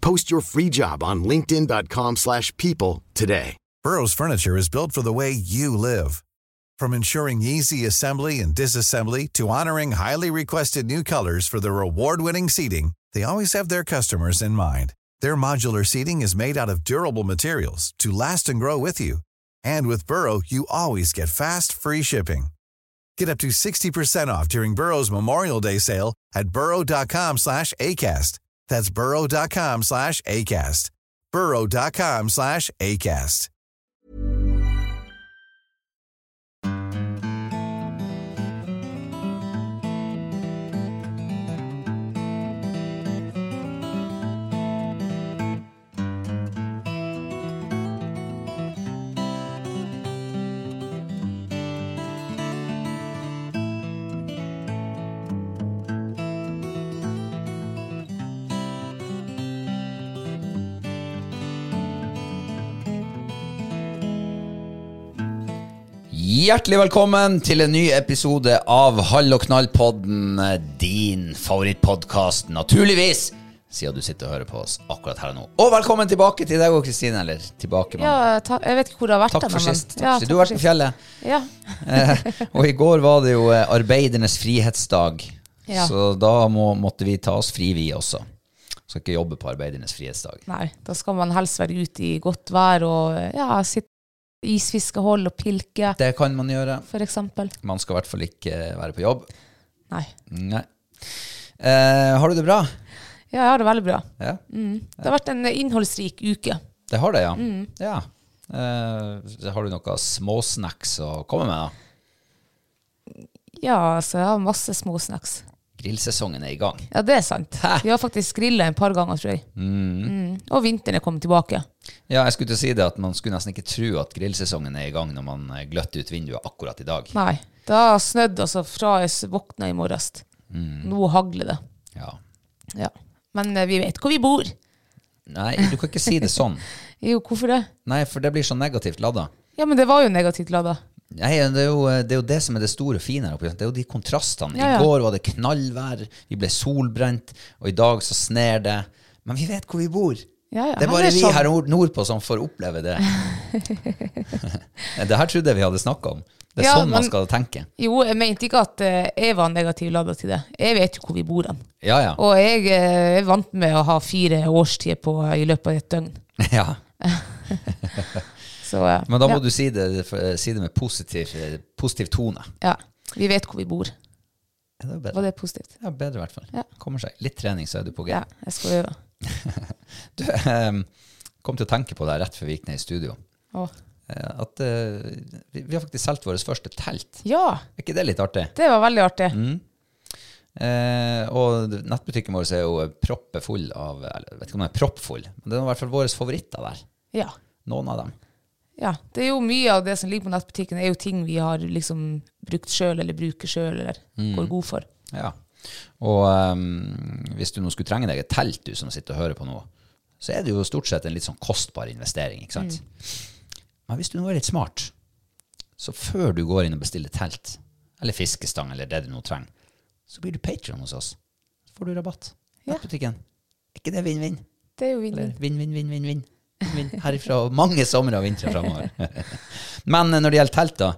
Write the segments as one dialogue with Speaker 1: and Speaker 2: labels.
Speaker 1: Post your free job on linkedin.com/people slash people today.
Speaker 2: Burrow's furniture is built for the way you live. From ensuring easy assembly and disassembly to honoring highly requested new colors for their award-winning seating, they always have their customers in mind. Their modular seating is made out of durable materials to last and grow with you. And with Burrow, you always get fast, free shipping. Get up to 60% off during Burrow's Memorial Day sale at burrow.com slash ACAST. That's burrow.com slash ACAST. burrow.com slash ACAST.
Speaker 3: Hjertelig velkommen til en ny episode av Hall og knall-podden, din favorittpodkast, naturligvis, siden du sitter og hører på oss akkurat her og nå. Og velkommen tilbake til deg og Kristine, eller tilbake, mann.
Speaker 4: Ja, ta, jeg vet ikke hvor det har vært
Speaker 3: Takk
Speaker 4: ennå,
Speaker 3: for
Speaker 4: men-
Speaker 3: sist. Takk
Speaker 4: ja,
Speaker 3: for sist. Du har vært på fjellet.
Speaker 4: Ja.
Speaker 3: Eh, og i går var det jo eh, arbeidernes frihetsdag,
Speaker 4: Ja.
Speaker 3: så da må, måtte vi ta oss fri, vi også. Skal ikke jobbe på arbeidernes frihetsdag.
Speaker 4: Nei, da skal man helst være ute i godt vær og ja, sitte i isfiskehold og pilke,
Speaker 3: Det kan man gjøre.
Speaker 4: for eksempel.
Speaker 3: Man skal i hvert fall ikke eh, være på jobb.
Speaker 4: Nei.
Speaker 3: Nei. Eh, har du det bra?
Speaker 4: Ja, jeg har det veldig bra.
Speaker 3: Ja.
Speaker 4: Det har vært en innholdsrik uke.
Speaker 3: Det har det, ja. ja. Eh, har du noen småsnacks å komme med? da?
Speaker 4: Ja, så jeg har masse småsnacks.
Speaker 3: Grillsesongen er i gang.
Speaker 4: Ja, det er sant. Vi har faktisk grilla et par ganger, tror jeg. Mm. Og vinteren er kommet tilbake.
Speaker 3: Ja, jeg skulle til å si det at Man skulle nesten ikke tro at grillsesongen er i gang når man eh, gløtter ut vinduet akkurat i dag.
Speaker 4: Nei. Det har snødd altså fra jeg s- våkna i morges.
Speaker 3: Mm.
Speaker 4: Nå hagler det.
Speaker 3: Ja.
Speaker 4: Ja. Men eh, vi vet hvor vi bor.
Speaker 3: Nei, du kan ikke si det sånn.
Speaker 4: Jo, hvorfor det?
Speaker 3: Nei, for det blir så negativt ladda.
Speaker 4: Ja, men det var jo negativt lada.
Speaker 3: Nei, det er, jo, eh, det er jo det som er det store og fine her oppe. Det er jo de kontrastene.
Speaker 4: Ja, ja.
Speaker 3: I går var det knallvær, vi ble solbrent, og i dag så sner det. Men vi vet hvor vi bor.
Speaker 4: Ja, ja,
Speaker 3: det er
Speaker 4: men
Speaker 3: bare
Speaker 4: det er
Speaker 3: vi
Speaker 4: sånn.
Speaker 3: her nord- nordpå som får oppleve det. det her trodde jeg vi hadde snakka om. Det er
Speaker 4: Ja,
Speaker 3: sånn man
Speaker 4: men-
Speaker 3: skal tenke.
Speaker 4: Jo, jeg mente ikke at eh, jeg var negativ lada til det. Jeg vet jo hvor vi bor hen.
Speaker 3: Ja, ja.
Speaker 4: Og jeg eh, er vant med å ha fire årstider på i løpet av et døgn.
Speaker 3: ja.
Speaker 4: Så eh,
Speaker 3: Men da må
Speaker 4: ja.
Speaker 3: du si det, eh, si det med positiv, eh, positiv tone.
Speaker 4: ja. Vi vet hvor vi bor.
Speaker 3: Ja, Det er
Speaker 4: Var
Speaker 3: bedre.
Speaker 4: det positivt?
Speaker 3: Ja, bedre i hvert fall.
Speaker 4: Ja.
Speaker 3: Kommer seg. Litt trening, så er du på G.
Speaker 4: Ja, jeg skal øve.
Speaker 3: Du, em, kom til å tenke på det rett før vi gikk ned i studio.
Speaker 4: Å.
Speaker 3: Eh, At eh, vi, vi har faktisk solgt vårt første telt.
Speaker 4: Ja,
Speaker 3: Er ikke det litt artig?
Speaker 4: det var veldig artig.
Speaker 3: Mm. Eh, og nettbutikken vår er jo proppefull av Eller jeg vet ikke om den er proppfull, men det er i hvert fall våre favoritter der.
Speaker 4: Ja.
Speaker 3: Noen av dem.
Speaker 4: ja. Det er jo mye av det som ligger på nettbutikken, er jo ting vi har liksom brukt sjøl, eller bruker sjøl, eller
Speaker 3: Mm.
Speaker 4: går god for.
Speaker 3: Ja. Og eh, hvis du nå skulle trenge deg et telt, du som sitter og hører på nå, så er det jo stort sett en litt sånn kostbar investering, ikke sant? Men hvis du nå er litt smart, så før du går inn og bestiller telt, eller fiskestang, eller det du nå trenger, så blir du patron hos oss. Så får du rabatt.
Speaker 4: Ja.
Speaker 3: Nettbutikken. Er ikke det vinn-vinn?
Speaker 4: Det er jo
Speaker 3: Eller vinn,
Speaker 4: vinn-vinn.
Speaker 3: vinn, vinn, vinn, vinn. Vinn herifra og mange somre og vintre framover. Men eh, når det gjelder telt, da,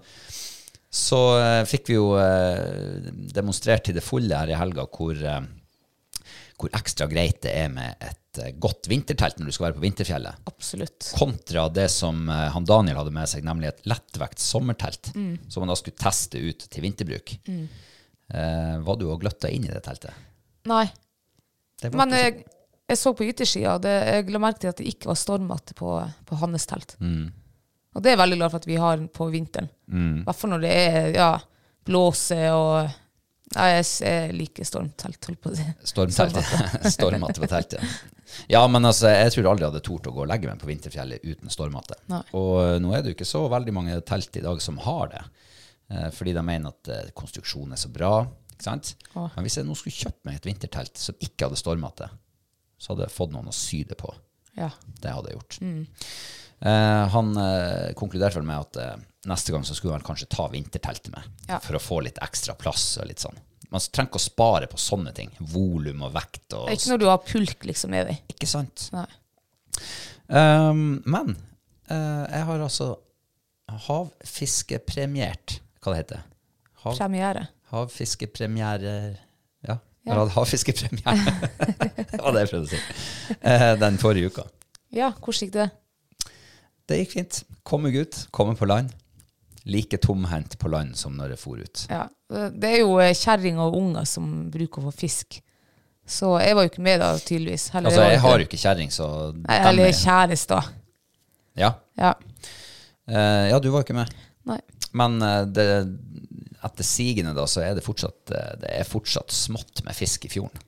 Speaker 3: så eh, fikk vi jo eh, demonstrert til det fulle her i helga hvor, eh, hvor ekstra greit det er med et et eh, godt vintertelt når du skal være på vinterfjellet,
Speaker 4: Absolutt.
Speaker 3: kontra det som eh, han Daniel hadde med seg, nemlig et lettvekt sommertelt, som han da skulle teste ut til vinterbruk. Eh, var du og gløtta inn i det teltet?
Speaker 4: Nei.
Speaker 3: Det var
Speaker 4: Men eh,
Speaker 3: ikke så-
Speaker 4: jeg, jeg så på yttersida, og det- jeg la merke til at det ikke var stormete på, på hans telt.
Speaker 3: Mm.
Speaker 4: Og det er jeg veldig glad for at vi har på vinteren. I hvert fall når det er ja, blåser og ja, jeg, s- jeg liker stormtelt, holdt på å si.
Speaker 3: Stormteltet. Stormmatte på teltet. Ja, men altså, jeg tror aldri jeg hadde tort å gå og legge meg på vinterfjellet uten stormmatte.
Speaker 4: Nei.
Speaker 3: Og eh, nå er det jo ikke så veldig mange telt i dag som har det, eh, fordi de mener at eh, konstruksjonen er så bra. ikke sant?
Speaker 4: Åh.
Speaker 3: Men hvis jeg nå skulle kjøpt meg et vintertelt som ikke hadde stormmatte, så hadde jeg fått noen å sy det på.
Speaker 4: Ja.
Speaker 3: Det hadde jeg gjort.
Speaker 4: Mm.
Speaker 3: Eh, han eh, konkluderte vel med at eh, neste gang så skulle han kanskje ta vinterteltet med,
Speaker 4: Ja.
Speaker 3: for å få litt ekstra plass og litt sånn. Man trenger ikke å spare på sånne ting. Volum og vekt og
Speaker 4: Ikke når du har pulk liksom med deg.
Speaker 3: Ikke sant?
Speaker 4: Nei.
Speaker 3: Um, men eh, jeg har altså havfiskepremiert Hva det heter Hav,
Speaker 4: Premiere.
Speaker 3: Havfiskepremiere Ja, jeg
Speaker 4: Ja.
Speaker 3: har hatt havfiskepremiere. det var det jeg prøvde å si. Eh, den forrige uka.
Speaker 4: Ja, hvordan gikk det?
Speaker 3: Det gikk fint. Kom meg ut, komme på land. Like tomhendt på land som når jeg for ut.
Speaker 4: Ja. Det er jo eh, kjerring og unger som bruker å få fisk. Så jeg var jo ikke med da, tydeligvis. Heller,
Speaker 3: Altså,
Speaker 4: var
Speaker 3: jeg
Speaker 4: ikke
Speaker 3: har
Speaker 4: det.
Speaker 3: jo ikke kjerring, så
Speaker 4: Nei,
Speaker 3: dem er-
Speaker 4: Eller kjæreste, da.
Speaker 3: ja.
Speaker 4: Ja.
Speaker 3: Eh, ja, du var ikke med.
Speaker 4: Nei.
Speaker 3: Men eh, det, etter sigende da, så er det fortsatt, eh, det er fortsatt smått med fisk i fjorden.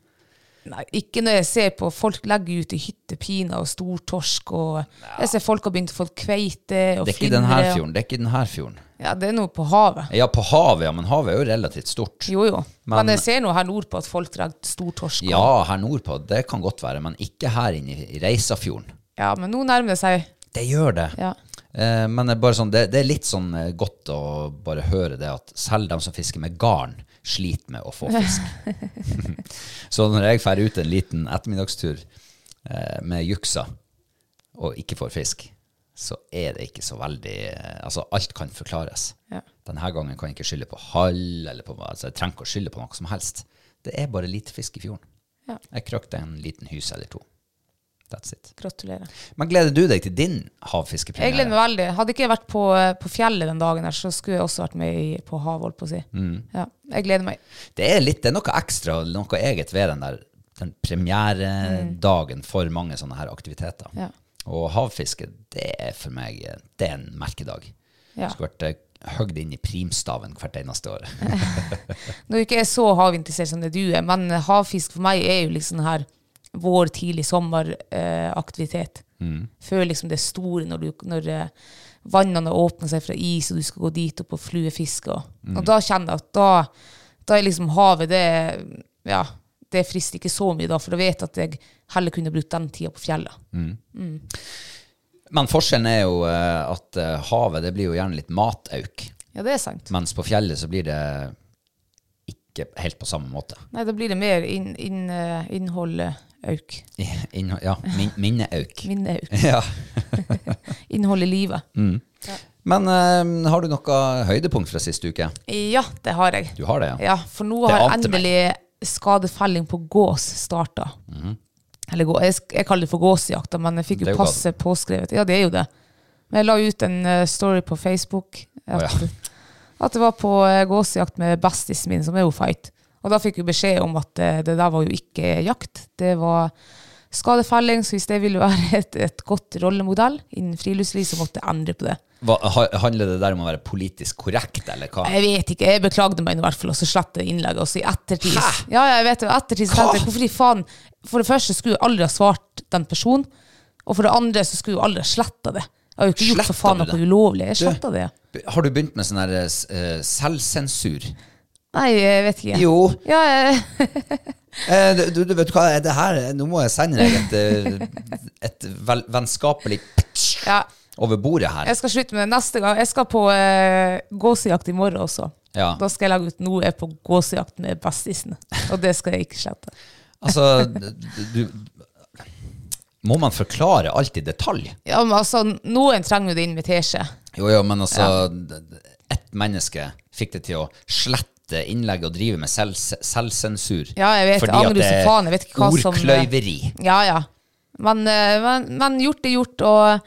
Speaker 4: Nei, ikke når jeg ser på folk legger ut i hyttepiner og stortorsk og Jeg ser folk har begynt å få kveite og
Speaker 3: Det er ikke den her
Speaker 4: flyndre og-
Speaker 3: fjorden. Det er ikke den her fjorden.
Speaker 4: Ja, det er noe på havet.
Speaker 3: Ja, på havet, ja, men havet er jo relativt stort.
Speaker 4: Jo, jo. Men,
Speaker 3: Men-
Speaker 4: jeg ser nå her nordpå at folk legger stortorsk. og-
Speaker 3: Ja, her nordpå, det kan godt være, men ikke her inne i- i Reisafjorden.
Speaker 4: ja. Men nå nærmer det seg.
Speaker 3: Det gjør det.
Speaker 4: Ja.
Speaker 3: Eh, men det er, bare sånn, det, det er litt sånn eh, godt å bare høre det at selv de som fisker med garn, sliter med å få fisk. så når jeg drar ut en liten ettermiddagstur eh, med juksa og ikke får fisk, så er det ikke så veldig eh, Altså, alt kan forklares.
Speaker 4: Ja.
Speaker 3: Denne gangen kan jeg ikke skylde på hall, eller på, altså, jeg trenger ikke å skylde på noe som helst. Det er bare lite fisk i fjorden.
Speaker 4: Ja.
Speaker 3: Jeg krøkte en liten hyse eller to. That's it.
Speaker 4: Gratulerer.
Speaker 3: Men gleder du deg til din
Speaker 4: Jeg
Speaker 3: havfiskepremiere?
Speaker 4: gleder meg veldig. Hadde ikke jeg vært på, eh, på fjellet den dagen, her, så skulle jeg også vært med i, på havet, holdt på å si.
Speaker 3: Mm.
Speaker 4: Ja, jeg gleder meg.
Speaker 3: Det er litt, det er noe ekstra, noe eget ved den der den premieredagen for mange sånne her aktiviteter.
Speaker 4: Ja.
Speaker 3: Og havfiske, det er for meg det er en merkedag.
Speaker 4: Ja.
Speaker 3: Skulle vært eh, høgd inn i primstaven hvert eneste år.
Speaker 4: Nå er ikke jeg så havinteressert som det du er, men havfisk for meg er jo liksom den her vår, tidlig sommeraktivitet. Før liksom det store, når, du, når eh, vannene åpner seg fra is, og du skal gå dit opp og fluefiske. Og, og da kjenner jeg at da, da er liksom havet det Ja, det frister ikke så mye da, for da vet jeg at jeg heller kunne brukt den tida på fjellet.
Speaker 3: Men forskjellen er jo eh, at eh, havet det blir jo gjerne litt matauk,
Speaker 4: Ja, det er sant.
Speaker 3: mens på fjellet så blir det ikke helt på samme måte.
Speaker 4: Nei, da blir det mer inn, inn, eh, innhold eh, auk.
Speaker 3: I- Innhold- ja, min, minneauk.
Speaker 4: Minne auk.
Speaker 3: Ja.
Speaker 4: Innhold i livet.
Speaker 3: Men eh, har du noe høydepunkt fra siste uke?
Speaker 4: Ja, det har jeg.
Speaker 3: Du har det, ja?
Speaker 4: Ja, for nå
Speaker 3: Det
Speaker 4: har
Speaker 3: ante meg.
Speaker 4: endelig skadefelling på gås starta. Eller gå- jeg, sk- jeg kaller det for gåsejakta, men jeg fikk
Speaker 3: Mhm. Det er
Speaker 4: jo
Speaker 3: jo galt.
Speaker 4: passet påskrevet. Ja, det er jo det. Men jeg la ut en eh, story på Facebook
Speaker 3: Å,
Speaker 4: at,
Speaker 3: ja.
Speaker 4: at det var på eh, gåsejakt med bestisen min, som er jo fight. Og da fikk vi beskjed om at eh, det der var jo ikke jakt, det var skadefelling. Så hvis det ville være et, et godt rollemodell innen friluftsliv, så måtte jeg endre på det.
Speaker 3: Hva, ha- handler det der om å være politisk korrekt, eller hva?
Speaker 4: Jeg vet ikke, jeg beklagde meg nå i hvert fall, og så slettet jeg innlegget. Og så i ettertid Ja, ja, jeg vet det, i ettertid så tenkte jeg, hvorfor i faen For det første skulle jeg aldri ha svart den personen, og for det andre så skulle jeg aldri ha sletta det. Jeg har jo ikke gjort for
Speaker 3: Slettet
Speaker 4: faen
Speaker 3: du
Speaker 4: noe
Speaker 3: det?
Speaker 4: ulovlig. Jeg sletta det.
Speaker 3: Har du begynt med sånn her eh, selvsensur?
Speaker 4: Nei, jeg vet ikke.
Speaker 3: Jo,
Speaker 4: Ja, jeg,
Speaker 3: eh, du, du vet hva, er det her eh, Nå må jeg sende deg et, eh, et vel, vennskapelig
Speaker 4: ja,
Speaker 3: over bordet her.
Speaker 4: jeg skal slutte med det neste gang. Jeg skal på eh, gåsejakt i morgen også.
Speaker 3: Ja.
Speaker 4: Da skal jeg legge ut 'Nå er jeg på gåsejakt med bestisene'. Og det skal jeg ikke slette.
Speaker 3: Altså, du Må man forklare alt i detalj?
Speaker 4: Ja, men altså, noen trenger jo det invitere seg.
Speaker 3: Jo, jo, men altså Ett menneske fikk det til å slette innlegg og drive med selv, selvsensur.
Speaker 4: Ja, jeg vet, Ah,
Speaker 3: Fordi
Speaker 4: jeg
Speaker 3: at
Speaker 4: angrer
Speaker 3: det
Speaker 4: som
Speaker 3: er
Speaker 4: faen, jeg vet ikke hva som- eh,
Speaker 3: ordkløyveri.
Speaker 4: Ja, ja. Men, eh, men, men gjort er gjort, og,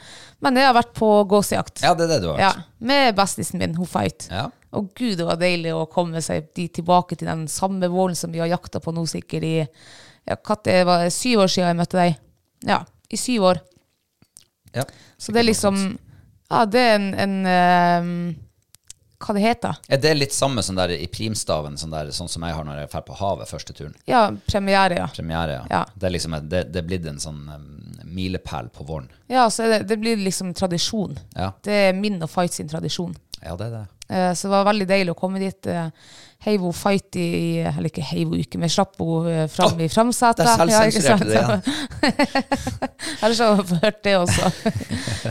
Speaker 4: men jeg har vært på gåsejakt.
Speaker 3: Ja, det er det du har
Speaker 4: Ja,
Speaker 3: vært.
Speaker 4: med bestisen min, hun Fait.
Speaker 3: Ja.
Speaker 4: Og gud, det var deilig å komme seg de tilbake til den samme våren som vi har jakta på nå sikkert i ja, hva det var syv år siden jeg møtte deg. Ja, i syv år.
Speaker 3: Ja.
Speaker 4: Så det er liksom Ja, det er en, en eh, Hva det heter
Speaker 3: Er det litt samme som der i primstaven, sånn, der, sånn som jeg har når jeg drar på havet første turen?
Speaker 4: Ja, premiere, ja.
Speaker 3: Premiere, ja.
Speaker 4: Ja.
Speaker 3: Det er liksom et- det, det er blitt en sånn um, milepæl på våren.
Speaker 4: Ja, så er det, det blir liksom tradisjon.
Speaker 3: Ja.
Speaker 4: Det er min og Fight sin tradisjon.
Speaker 3: ja, det er det.
Speaker 4: Eh, Så det var veldig deilig å komme dit. eh, Heiv henne fight i Eller ikke heiv henne uke, men slapp henne eh, fram i framsetet.
Speaker 3: Der selvsensurerte du det igjen.
Speaker 4: Ellers har jeg hørt det også.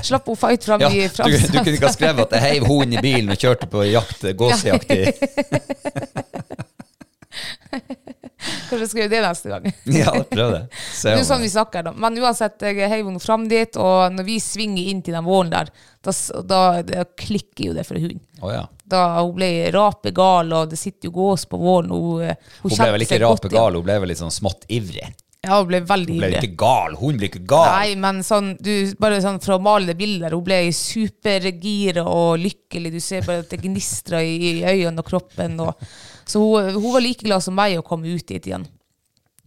Speaker 4: Slapp henne fight fram
Speaker 3: Ja,
Speaker 4: i
Speaker 3: du, du
Speaker 4: framsetet.
Speaker 3: kunne ikke ha skrevet at jeg heiv hunden i bilen og kjørte på jakt, gåsejakt i
Speaker 4: Kanskje jeg skal gjøre det neste gang.
Speaker 3: Ja, prøv det. Se
Speaker 4: Det er
Speaker 3: om-
Speaker 4: jo sånn vi snakker da. Men uansett, jeg heiv henne fram dit, og når vi svinger inn til den våren der, da, s- da, da klikker jo det for hunden.
Speaker 3: Å, ja.
Speaker 4: Da hun ble rapegal, og det sitter jo gås på våren. Hun, eh, hun
Speaker 3: Hun ble
Speaker 4: kjente
Speaker 3: vel ikke
Speaker 4: seg godt igjen.
Speaker 3: rapegal, hun ble vel litt sånn smått ivrig.
Speaker 4: Ja, hun ble veldig
Speaker 3: Hun ble
Speaker 4: ivrig.
Speaker 3: ikke gal, hun ble ikke gal.
Speaker 4: Nei, men sånn, du, bare sånn for å male det bildet der, hun ble supergira og lykkelig. Du ser bare at det gnistrer i, i øynene og kroppen. Og, så hun, hun var like glad som meg å komme ut dit igjen.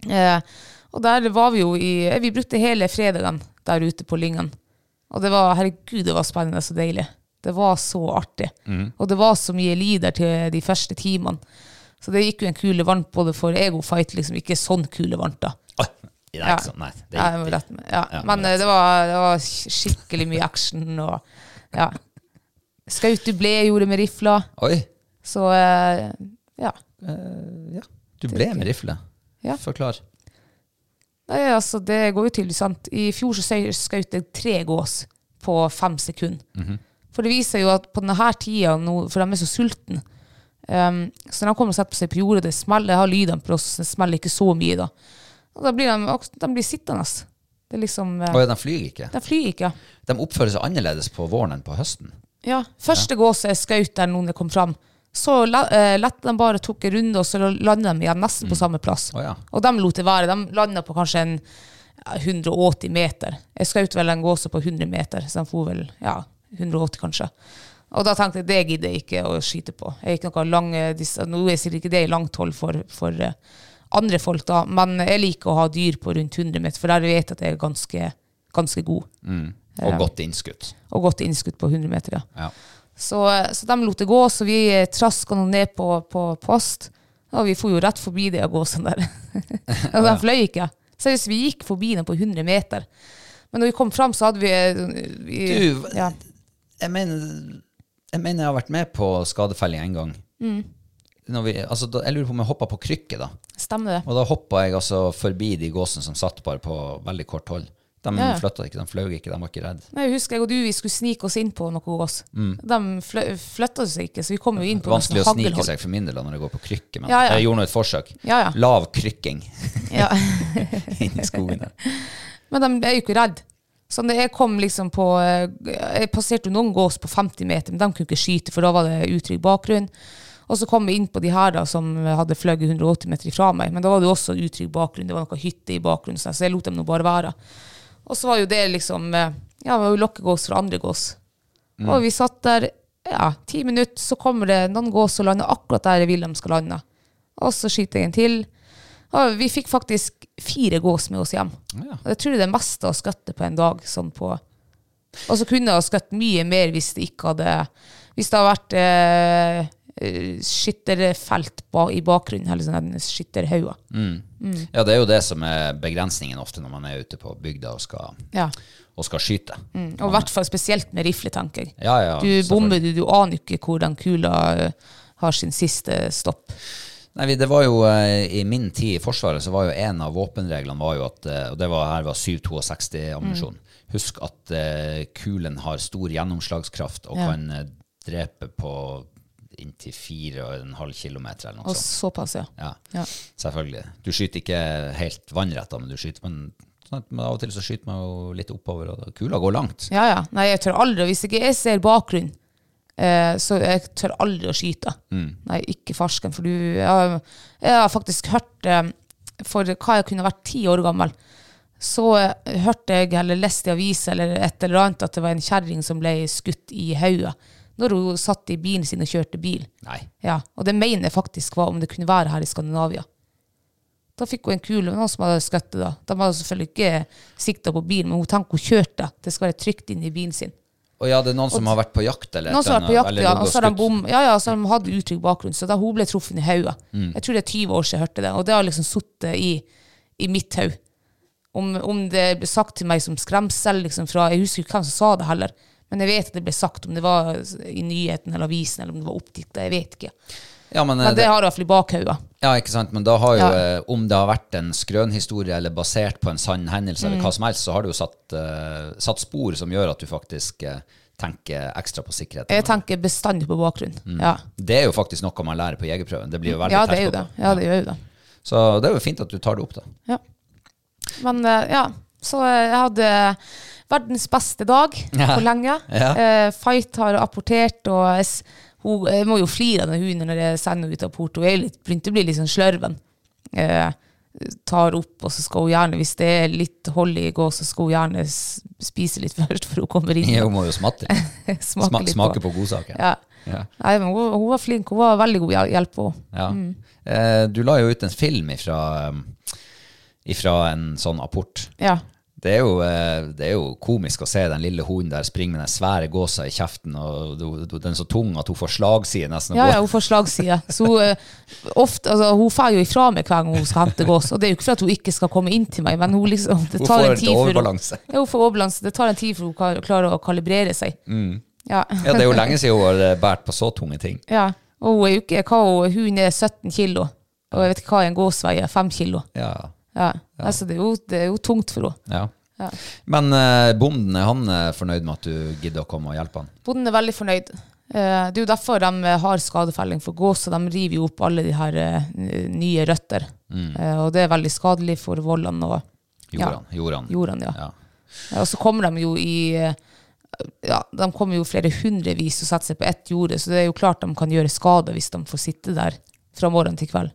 Speaker 4: Eh, og der var vi jo i eh, Vi brukte hele fredagen der ute på Lyngen. Og det var Herregud, det var spennende og deilig. Det var så artig. Og det var så mye liv der til de første timene. Så det gikk jo en kule varmt både for ego-fight, liksom. Ikke sånn kule varmt, da.
Speaker 3: Åh, det er ikke sånn, nei. Det
Speaker 4: Ja, jeg
Speaker 3: er
Speaker 4: må
Speaker 3: ikke.
Speaker 4: rette meg. ja.
Speaker 3: Ja,
Speaker 4: men
Speaker 3: men
Speaker 4: eh, det var, det var sk- skikkelig mye action og ja. Skaut du ble gjorde med rifla,
Speaker 3: Oi,
Speaker 4: så eh, ja.
Speaker 3: du ble med rifle.
Speaker 4: Ja.
Speaker 3: Forklar.
Speaker 4: Nei, altså, det går jo til, sant. I fjor så søy- skaut jeg tre gås på fem sekunder.
Speaker 3: Mhm.
Speaker 4: For det viser jo at på denne tida, nå, for de er så sultne, um, så når de kommer og setter seg på jordet, det smeller, jeg har lydene på oss, det smeller ikke så mye da. Og da blir de, ak- de blir sittende. Det er liksom, eh,
Speaker 3: Å ja, de flyr ikke.
Speaker 4: de flyr ikke, ja.
Speaker 3: De oppfører seg annerledes på våren enn på høsten.
Speaker 4: Ja, første gås jeg skjøt der noen kom fram, så la, eh, lette de bare, tok en runde, og så landet de igjen nesten på samme plass.
Speaker 3: Mm. Å ja.
Speaker 4: Og de lot det være. De landet på kanskje en ja, 180 meter. Jeg skjøt vel en gåse på 100 meter, så de for vel ja, 180 kanskje. Og da tenkte jeg det gidder jeg ikke å skyte på. Jeg er ikke noe lang, eh, dis- Nå er sikkert ikke det i langt hold for, for eh, andre folk, da, men jeg liker å ha dyr på rundt 100 meter, for der vet jeg at jeg er ganske, ganske god.
Speaker 3: Mm. Og godt innskutt.
Speaker 4: Og godt innskudd på 100 meter, ja.
Speaker 3: Ja.
Speaker 4: Så, så de lot det gå, så vi eh, traska nå ned på, på post. Og vi for jo rett forbi de gåsene der. og de fløy ikke. Seriøst, vi gikk forbi dem på 100 meter. Men når vi kom fram, så hadde vi, eh, vi
Speaker 3: Du, hva-
Speaker 4: ja.
Speaker 3: Jeg mener, jeg mener jeg har vært med på skadefelling en gang.
Speaker 4: Mm.
Speaker 3: Når vi, altså, da, jeg lurer på om jeg hoppa på krykke, da.
Speaker 4: Stemmer det?
Speaker 3: Og da hoppa jeg altså forbi de gåsene som satt bare på veldig kort hold. De
Speaker 4: Ja.
Speaker 3: flytta ikke, de fløy ikke, de var ikke redde.
Speaker 4: Nei, jeg husker jeg og du vi skulle snike oss inn på noe gås. De flø flytta seg ikke, så vi kom jo inn på noe
Speaker 3: Mm. Vanskelig å
Speaker 4: sånn
Speaker 3: snike
Speaker 4: haglhold.
Speaker 3: seg for min del da, når jeg går på krykke, men
Speaker 4: Ja, ja.
Speaker 3: jeg gjorde nå et forsøk.
Speaker 4: Ja, ja.
Speaker 3: Lav krykking
Speaker 4: Ja.
Speaker 3: inni skogen der.
Speaker 4: Men de er jo ikke redde. Så når jeg kom liksom på eh, Jeg passerte jo noen gås på 50 meter, men de kunne ikke skyte, for da var det utrygg bakgrunn. Og så kom vi inn på de her da, som hadde fløyet 180 meter ifra meg, men da var det jo også utrygg bakgrunn. Det var noe hytte i bakgrunnen, så jeg lot dem nå bare være. Og så var jo det liksom eh, Ja, det var jo lokkegås fra andre gås. Og vi satt der ja, ti minutter, så kommer det noen gås og lander akkurat der jeg vil de skal lande. Og så skyter jeg en til. Og vi fikk faktisk fire gås med oss hjem.
Speaker 3: Ja.
Speaker 4: Og jeg tror det er det meste å skutte på en dag. Sånn på. Og så kunne jeg ha skutt mye mer hvis det ikke hadde Hvis det hadde vært eh, eh, skytterfelt ba, i bakgrunnen, eller sånn sånne skytterhauger.
Speaker 3: Mm.
Speaker 4: Mm.
Speaker 3: Ja, det er jo det som er begrensningen ofte når man er ute på bygda og skal,
Speaker 4: Ja.
Speaker 3: og skal skyte.
Speaker 4: Og i hvert fall spesielt med rifle, tenker jeg.
Speaker 3: Ja, ja,
Speaker 4: Mm. du bommer, du, du aner ikke hvor den kula eh, har sin siste stopp.
Speaker 3: Nei, vi- det var jo eh, I min tid i Forsvaret så var jo en av våpenreglene var jo at eh, Og det var her var 762-ammunisjon.
Speaker 4: Mm.
Speaker 3: Husk at eh, kulen har stor gjennomslagskraft og
Speaker 4: Ja.
Speaker 3: kan eh, drepe på inntil 4,5 km eller noe
Speaker 4: Og
Speaker 3: sånt.
Speaker 4: såpass, ja.
Speaker 3: Ja,
Speaker 4: Ja.
Speaker 3: selvfølgelig. Du skyter ikke helt vannrett, da, men du skyter men, sånn at, men av og til så skyter man jo litt oppover, og kula går langt.
Speaker 4: Ja, ja. Nei, jeg tør aldri. Hvis ikke jeg ser bakgrunn, eh, så jeg tør aldri å skyte. Nei, ikke farsken, for du Jeg, jeg har faktisk hørt eh, For hva jeg kunne vært ti år gammel, så eh, hørte jeg eller leste i avisa eller et eller annet at det var en kjerring som ble skutt i hodet når hun satt i bilen sin og kjørte bil.
Speaker 3: Nei.
Speaker 4: Ja, og det mener jeg faktisk var om det kunne være her i Skandinavia. Da fikk hun en kule med noen som hadde skutt henne. da. De hadde selvfølgelig ikke sikta på bilen, men hun tenkte hun kjørte. Det skal være trygt inn i bilen sin.
Speaker 3: Og ja, det er noen som har vært på jakt? Eller
Speaker 4: Noen som har vært på jakt,
Speaker 3: eller
Speaker 4: ja.
Speaker 3: ligget
Speaker 4: Og så har de
Speaker 3: skutt.
Speaker 4: bom, ja, ja, så har de hatt utrygg bakgrunn. Så da hun ble truffet i hodet Jeg tror det er 20 år siden jeg hørte det. Og det har liksom sittet i, i mitt hode. Om, om det ble sagt til meg som skremsel liksom fra Jeg husker ikke hvem som sa det heller. Men jeg vet at det ble sagt, om det var i nyheten eller avisen eller om det var oppdikta. Jeg vet ikke.
Speaker 3: Ja, men, eh,
Speaker 4: Men det har jeg i hvert fall i bakhodet.
Speaker 3: Ja, ikke sant, men da har jo,
Speaker 4: Ja.
Speaker 3: eh, om det har vært en skrønhistorie eller basert på en sann hendelse,
Speaker 4: Mm.
Speaker 3: eller hva som helst, så har det jo satt, eh, satt spor som gjør at du faktisk eh, tenker ekstra på sikkerhet.
Speaker 4: Jeg tenker bestandig på bakgrunn. Ja.
Speaker 3: Det er jo faktisk noe man lærer på jegerprøven. Det blir Mm. jo veldig
Speaker 4: ja,
Speaker 3: tett
Speaker 4: det er jo det.
Speaker 3: på.
Speaker 4: Ja, det gjør jo det.
Speaker 3: Så det er jo fint at du tar det opp, da.
Speaker 4: Ja. Men eh, ja, så eh, jeg hadde verdens beste dag
Speaker 3: Ja.
Speaker 4: på lenge.
Speaker 3: Ja.
Speaker 4: Eh, Fight har apportert, og jeg, s- hun, jeg må jo flire av den hunden når jeg sender henne ut av porto. Jeg er litt- begynte å bli litt sånn slørven. Eh, tar opp, og så skal hun gjerne, hvis det er litt hold i gå, så skal hun gjerne s- spise litt først, for hun kommer inn
Speaker 3: Hun
Speaker 4: og
Speaker 3: må jo smatte.
Speaker 4: smaker
Speaker 3: Sma-
Speaker 4: litt
Speaker 3: smake
Speaker 4: på.
Speaker 3: på godsaken.
Speaker 4: Ja.
Speaker 3: Ja.
Speaker 4: Nei, men hun, hun var flink. Hun var veldig god hjel- hjelp. Hun.
Speaker 3: Ja. Eh, Du la jo ut en film ifra, eh, ifra en sånn apport.
Speaker 4: Ja.
Speaker 3: Det er, jo, eh, det er jo komisk å se den lille hunden der springe med den svære gåsa i kjeften, og do- do- den er så tung at hun får slagside nesten. og
Speaker 4: Ja,
Speaker 3: går-
Speaker 4: ja, hun får slagside. Så hun, eh, ofte, altså, hun får jo ifra meg hver gang hun skal hente gås. Og det er jo ikke for at hun ikke skal komme inn til meg, men hun liksom det
Speaker 3: Hun
Speaker 4: tar
Speaker 3: får
Speaker 4: en tid
Speaker 3: litt
Speaker 4: før
Speaker 3: overbalanse.
Speaker 4: Ja, hun får overbalanse. Det tar en tid før hun klar- klarer å kalibrere seg. Ja.
Speaker 3: Mm. Ja, det er jo lenge siden hun har eh, båret på så tunge ting.
Speaker 4: ja. Og hun er jo ikke hva hun, hun er 17 kilo. Og jeg vet ikke hva en gås veier. 5 kilo.
Speaker 3: Ja.
Speaker 4: Ja. Altså, det, er jo, det er jo tungt for henne.
Speaker 3: ja. Men eh, bonden, er han eh, fornøyd med at du gidder å komme og hjelpe han?
Speaker 4: Bonden er veldig fornøyd. Eh, Det er jo derfor de eh, har skadefelling for gås, og de river jo opp alle de her eh, n- nye røtter.
Speaker 3: Mm.
Speaker 4: Eh, Og det er veldig skadelig for vollene og
Speaker 3: Gjorde
Speaker 4: Ja.
Speaker 3: han? Gjorde han?
Speaker 4: jorden. Ja.
Speaker 3: Ja.
Speaker 4: Eh, Og så kommer de jo i eh, ja, De kommer jo flere hundrevis og setter seg på ett jorde, så det er jo klart de kan gjøre skade hvis de får sitte der fra morgen til kveld.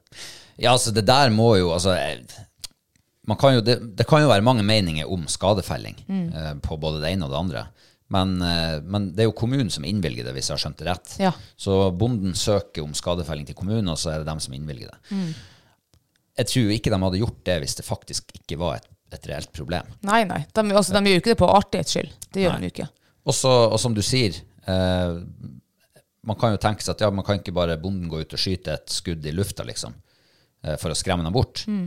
Speaker 3: Ja, altså det der må jo altså, eh, man kan jo, det, det kan jo være mange meninger om skadefelling eh, på både det ene og det andre. Men, eh, men det er jo kommunen som innvilger det, hvis jeg har skjønt det rett.
Speaker 4: Ja.
Speaker 3: Så bonden søker om skadefelling til kommunen, og så er det dem som innvilger det. Jeg tror ikke de hadde gjort det hvis det faktisk ikke var et, et reelt problem.
Speaker 4: Nei, nei. De, altså, de gjør jo ikke det på artighets skyld. Det gjør de jo ikke.
Speaker 3: Og, så, og som du sier, eh, man kan jo tenke seg at ja, man kan ikke bare bonden gå ut og skyte et skudd i lufta, liksom, eh, for å skremme dem bort.
Speaker 4: Mm.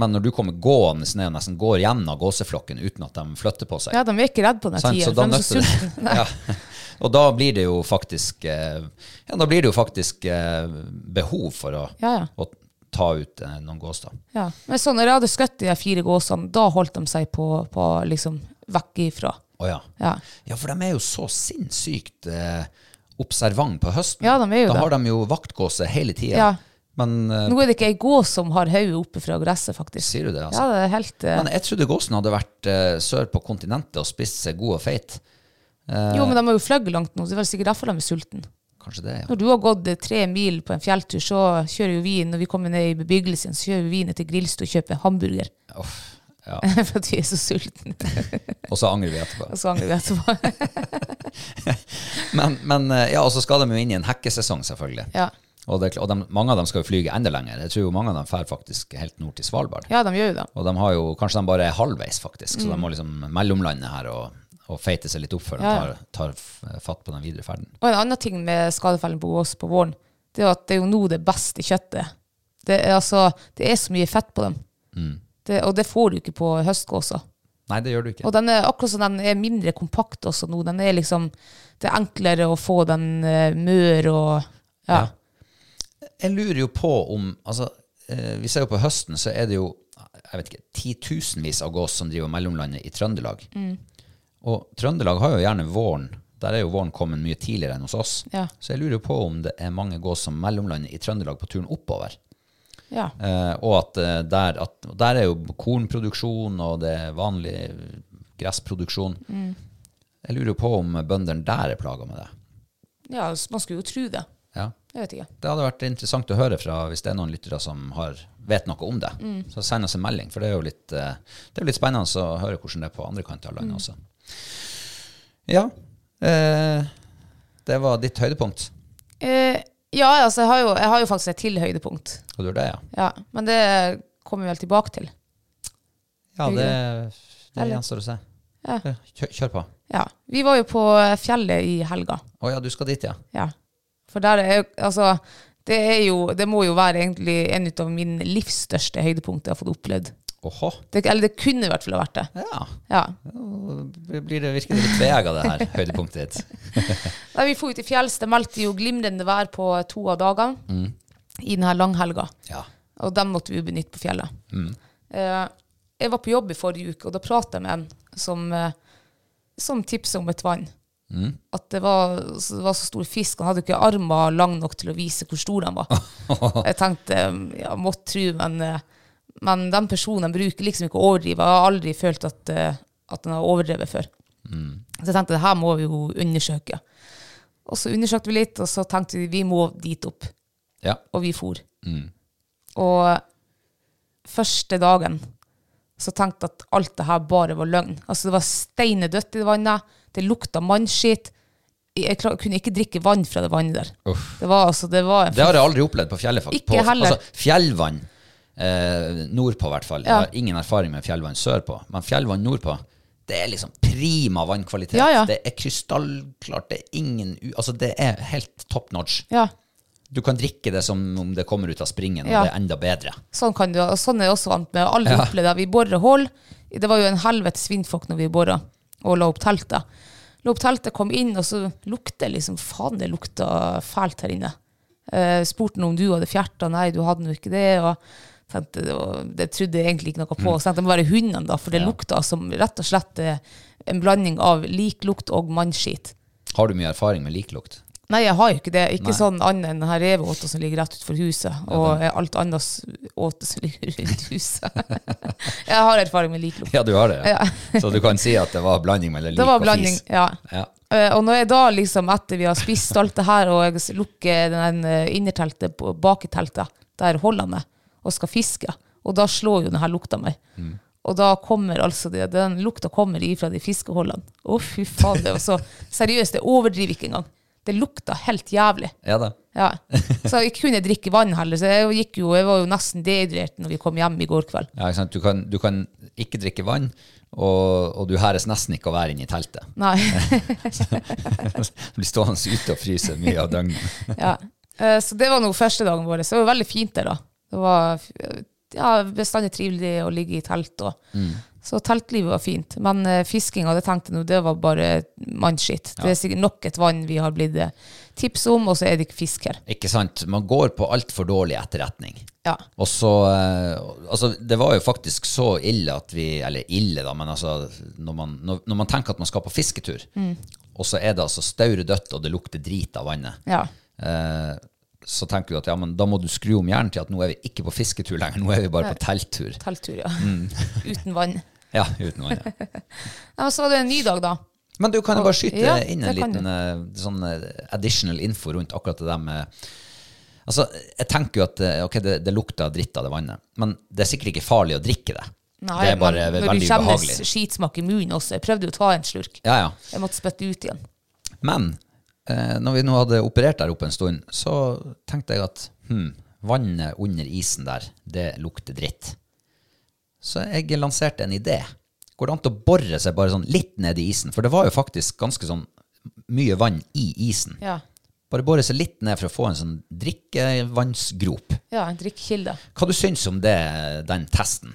Speaker 3: Men når du kommer gående ned og nesten går gjennom gåseflokken uten at de flytter på seg,
Speaker 4: Ja, de er ikke redde på den
Speaker 3: sant?
Speaker 4: tida.
Speaker 3: så da
Speaker 4: de er så
Speaker 3: nøtter
Speaker 4: sultne.
Speaker 3: det. ja. Og da blir det jo faktisk, eh, ja, da blir det jo faktisk eh, behov for å,
Speaker 4: Ja, ja.
Speaker 3: å ta ut eh, noen gås, da.
Speaker 4: Ja. Men sånn, når jeg hadde skutt de her fire gåsene, da holdt de seg på, på liksom vekk ifra.
Speaker 3: Å ja.
Speaker 4: Ja.
Speaker 3: Ja, for de er jo så sinnssykt eh, observant på høsten.
Speaker 4: Ja, de er jo
Speaker 3: da
Speaker 4: det.
Speaker 3: har de jo vaktgåse hele tida.
Speaker 4: Ja.
Speaker 3: Men eh,
Speaker 4: Nå er det ikke ei gås som har hodet oppe fra gresset, faktisk.
Speaker 3: sier du det,
Speaker 4: Ja,
Speaker 3: altså?
Speaker 4: det er helt eh,
Speaker 3: Men jeg trodde gåsen hadde vært eh, sør på kontinentet og spist seg god og feit.
Speaker 4: Jo, men de har jo fløyet langt nå, så det er vel sikkert derfor de er sultne.
Speaker 3: Kanskje det, ja.
Speaker 4: Når du har gått eh, tre mil på en fjelltur, så kjører jo vi når vi kommer ned i bebyggelsen, så kjører vi ned til Grilstø og kjøper hamburger.
Speaker 3: Uff, ja.
Speaker 4: For at vi er så sultne.
Speaker 3: Og så angrer vi etterpå.
Speaker 4: Og så angrer vi etterpå.
Speaker 3: Men, men eh, ja, og så skal de jo inn i en hekkesesong, selvfølgelig.
Speaker 4: Ja.
Speaker 3: Og, det, er kl- og de, mange av dem skal jo flyge enda lenger. Jeg tror jo mange av dem drar faktisk helt nord til Svalbard.
Speaker 4: ja, de gjør jo det.
Speaker 3: Og de har jo, kanskje de bare er halvveis, faktisk. Så de må liksom mellomlande her og, og feite seg litt opp før de
Speaker 4: Ja, ja.
Speaker 3: tar, tar f- fatt på den videre ferden.
Speaker 4: Og en annen ting med skadefelling på gås på våren, det er jo at det er jo nå det beste kjøttet. Det er, altså, det er så mye fett på dem. Det, og det får du ikke på høstgåsa.
Speaker 3: Nei, det gjør du ikke.
Speaker 4: Og den er akkurat som den er mindre kompakt også nå. Den er liksom, det er enklere å få den eh, mør og ja.
Speaker 3: Jeg lurer jo på om altså, eh, Vi ser jo på høsten, så er det jo jeg vet ikke, titusenvis av gås som driver mellomlandet i Trøndelag. Og Trøndelag har jo gjerne våren. Der er jo våren kommet mye tidligere enn hos oss.
Speaker 4: Ja.
Speaker 3: Så jeg lurer jo på om det er mange gås som mellomlander i Trøndelag på turen oppover.
Speaker 4: ja.
Speaker 3: Eh, og at eh, der, at, og der er jo kornproduksjon, og det er vanlig gressproduksjon. Jeg lurer jo på om bøndene der er plaga med det.
Speaker 4: Ja, s- man skulle jo tro det.
Speaker 3: Ja.
Speaker 4: Jeg vet ikke.
Speaker 3: Det hadde vært interessant å høre fra hvis det er noen lyttere som har, vet noe om det.
Speaker 4: Mm.
Speaker 3: Så send oss en melding, for det er jo litt, eh, det er jo litt spennende å høre hvordan det er på andre kanter av
Speaker 4: Mm.
Speaker 3: landet også. Ja, eh, det var ditt høydepunkt.
Speaker 4: Eh, ja, altså, jeg har, jo, jeg har jo faktisk et til høydepunkt.
Speaker 3: Og du gjør det, ja.
Speaker 4: Ja, men det kommer vi vel tilbake til.
Speaker 3: Ja,
Speaker 4: Gjør vi
Speaker 3: det, det
Speaker 4: Eller?
Speaker 3: gjenstår å se.
Speaker 4: Ja.
Speaker 3: Kjør, kjør på.
Speaker 4: Ja. Vi var jo på eh, fjellet i helga.
Speaker 3: Å ja, du skal dit, ja.
Speaker 4: Ja. For der er jo Altså, det er jo Det må jo være egentlig en ut av min livs største høydepunkt jeg har fått opplevd.
Speaker 3: Åhå.
Speaker 4: Det, eller det kunne i hvert fall ha vært det.
Speaker 3: Ja.
Speaker 4: Ja.
Speaker 3: Nå Blir det, virker det litt tvega, det her høydepunktet ditt.
Speaker 4: Nei, vi for jo til fjells. Det meldte jo glimrende vær på to av dagene i denne langhelga.
Speaker 3: Ja.
Speaker 4: Og dem måtte vi jo benytte på fjellet. Eh, jeg var på jobb i forrige uke, og da prata jeg med en som, eh, som tipsa om et vann. At det var, det var så stor fisk. Han hadde jo ikke armer lang nok til å vise hvor stor den var. jeg tenkte ja, måtte tru, men, eh, men den personen bruker liksom ikke å overdrive. Jeg har aldri følt at, eh, at den har overdrevet før. Så jeg tenkte det her må vi jo undersøke. Og så undersøkte vi litt, og så tenkte vi vi må dit opp.
Speaker 3: ja.
Speaker 4: Og vi for.
Speaker 3: Mm.
Speaker 4: Og første dagen så tenkte jeg at alt det her bare var løgn. Altså det var steinedødt i det vannet, det lukta mannskitt. Jeg klar, kunne ikke drikke vann fra det vannet der.
Speaker 3: Uff.
Speaker 4: Det var altså, det var
Speaker 3: Det har jeg aldri opplevd på fjellet. fakt-
Speaker 4: Ikke
Speaker 3: på,
Speaker 4: heller.
Speaker 3: Altså, fjellvann eh, nordpå, i hvert fall.
Speaker 4: Ja.
Speaker 3: Jeg har ingen erfaring med fjellvann sørpå, men fjellvann nordpå det er liksom prima vannkvalitet.
Speaker 4: Ja, ja.
Speaker 3: Det er krystallklart. Det er ingen u Altså, det er helt top notch.
Speaker 4: Ja,
Speaker 3: Du kan drikke det som om det kommer ut av springen, og
Speaker 4: Ja.
Speaker 3: det er enda bedre.
Speaker 4: sånn kan du, og sånn er jeg også vant med. Jeg har Aldri opplevd det. Vi borer hull. Det var jo en helvetes vindfokk når vi bora og la opp teltet. La opp teltet, kom inn, og så lukter det liksom Faen, det lukta fælt her inne. Eh, spurte han om du hadde fjerta. Nei, du hadde nå ikke det. og tenkte, det, var, det trodde jeg egentlig ikke noe på. Så tenkte jeg, det må være hundene, da, for det lukta som rett og slett eh, en blanding av liklukt og mannskit.
Speaker 3: Har du mye erfaring med liklukt?
Speaker 4: Nei, jeg har jo ikke det. Ikke sånn annet enn den her reveåta som ligger rett utenfor huset, og alt annet s- åte som ligger rundt huset. jeg har erfaring med liklukt.
Speaker 3: Ja, du har det.
Speaker 4: Ja.
Speaker 3: Så du kan si at det var blanding mellom lik
Speaker 4: Det var
Speaker 3: og
Speaker 4: blanding,
Speaker 3: fis.
Speaker 4: ja.
Speaker 3: Ja.
Speaker 4: Eh, Og når jeg da liksom, etter vi har spist alt det her, og jeg s- lukker den eh, innerteltet på- bak i teltet, der holder jeg meg, og skal fiske, og da slår jo den her lukta meg.
Speaker 3: Mm.
Speaker 4: Og da kommer altså det, den lukta kommer ifra de fiskeholdene. Å, fy faen, det var så seriøst, jeg overdriver ikke engang. Det lukta helt jævlig.
Speaker 3: Ja da.
Speaker 4: Ja. Så jeg kunne ikke drikke vann heller, så jeg, gikk jo, jeg var jo nesten dehydrert når vi kom hjem i går kveld.
Speaker 3: Ja, ikke sant? Du, kan, du kan ikke drikke vann, og, og du hæres nesten ikke å være inne i teltet.
Speaker 4: Nei.
Speaker 3: Du blir stående ute og fryse mye av døgnet.
Speaker 4: Ja. Eh, Så det var nå første dagen vår. Så det var veldig fint der, da. Det var f- ja, bestandig trivelig å ligge i telt. Og. Så teltlivet var fint. Men uh, fiskinga, det tenkte jeg nå, det var bare mannskitt. Det er sikkert nok et vann vi har blitt eh, tips om, og så er det ikke fisk her.
Speaker 3: Ikke sant? Man går på altfor dårlig etterretning.
Speaker 4: Ja.
Speaker 3: Og så eh, Altså, det var jo faktisk så ille at vi Eller ille, da, men altså Når man, når, når man tenker at man skal på fisketur, og så er det altså staure dødt, og det lukter drit av vannet,
Speaker 4: Ja.
Speaker 3: eh, så tenker du at ja, men da må du skru om hjernen til at nå er vi ikke på fisketur lenger, nå er vi bare på telttur.
Speaker 4: Telttur, ja. Uten vann. Nei,
Speaker 3: Ja, uten vann. Ja.
Speaker 4: men så var det en ny dag, da.
Speaker 3: Men du kan jo bare skyte
Speaker 4: Ja,
Speaker 3: inn en
Speaker 4: det kan
Speaker 3: liten eh, sånn eh, additional info rundt akkurat det der med Altså, jeg tenker jo at eh, ok, det, det lukter dritt av det vannet, men det er sikkert ikke farlig å drikke det.
Speaker 4: Nei,
Speaker 3: det er bare
Speaker 4: men når du
Speaker 3: veldig
Speaker 4: kjenner
Speaker 3: ubehagelig.
Speaker 4: skitsmak i munnen også. Jeg prøvde jo å ta en slurk.
Speaker 3: Ja, ja.
Speaker 4: Jeg måtte spytte ut igjen.
Speaker 3: Men eh, når vi nå hadde operert der oppe en stund, så tenkte jeg at hm, vannet under isen der, det lukter dritt. Så jeg lanserte en idé. Går det an til å bore seg bare sånn litt ned i isen? For det var jo faktisk ganske sånn mye vann i isen.
Speaker 4: Ja,
Speaker 3: Bare bore seg litt ned for å få en sånn drikkevannsgrop.
Speaker 4: ja en drikkekilde.
Speaker 3: Hva du syns om det, den testen?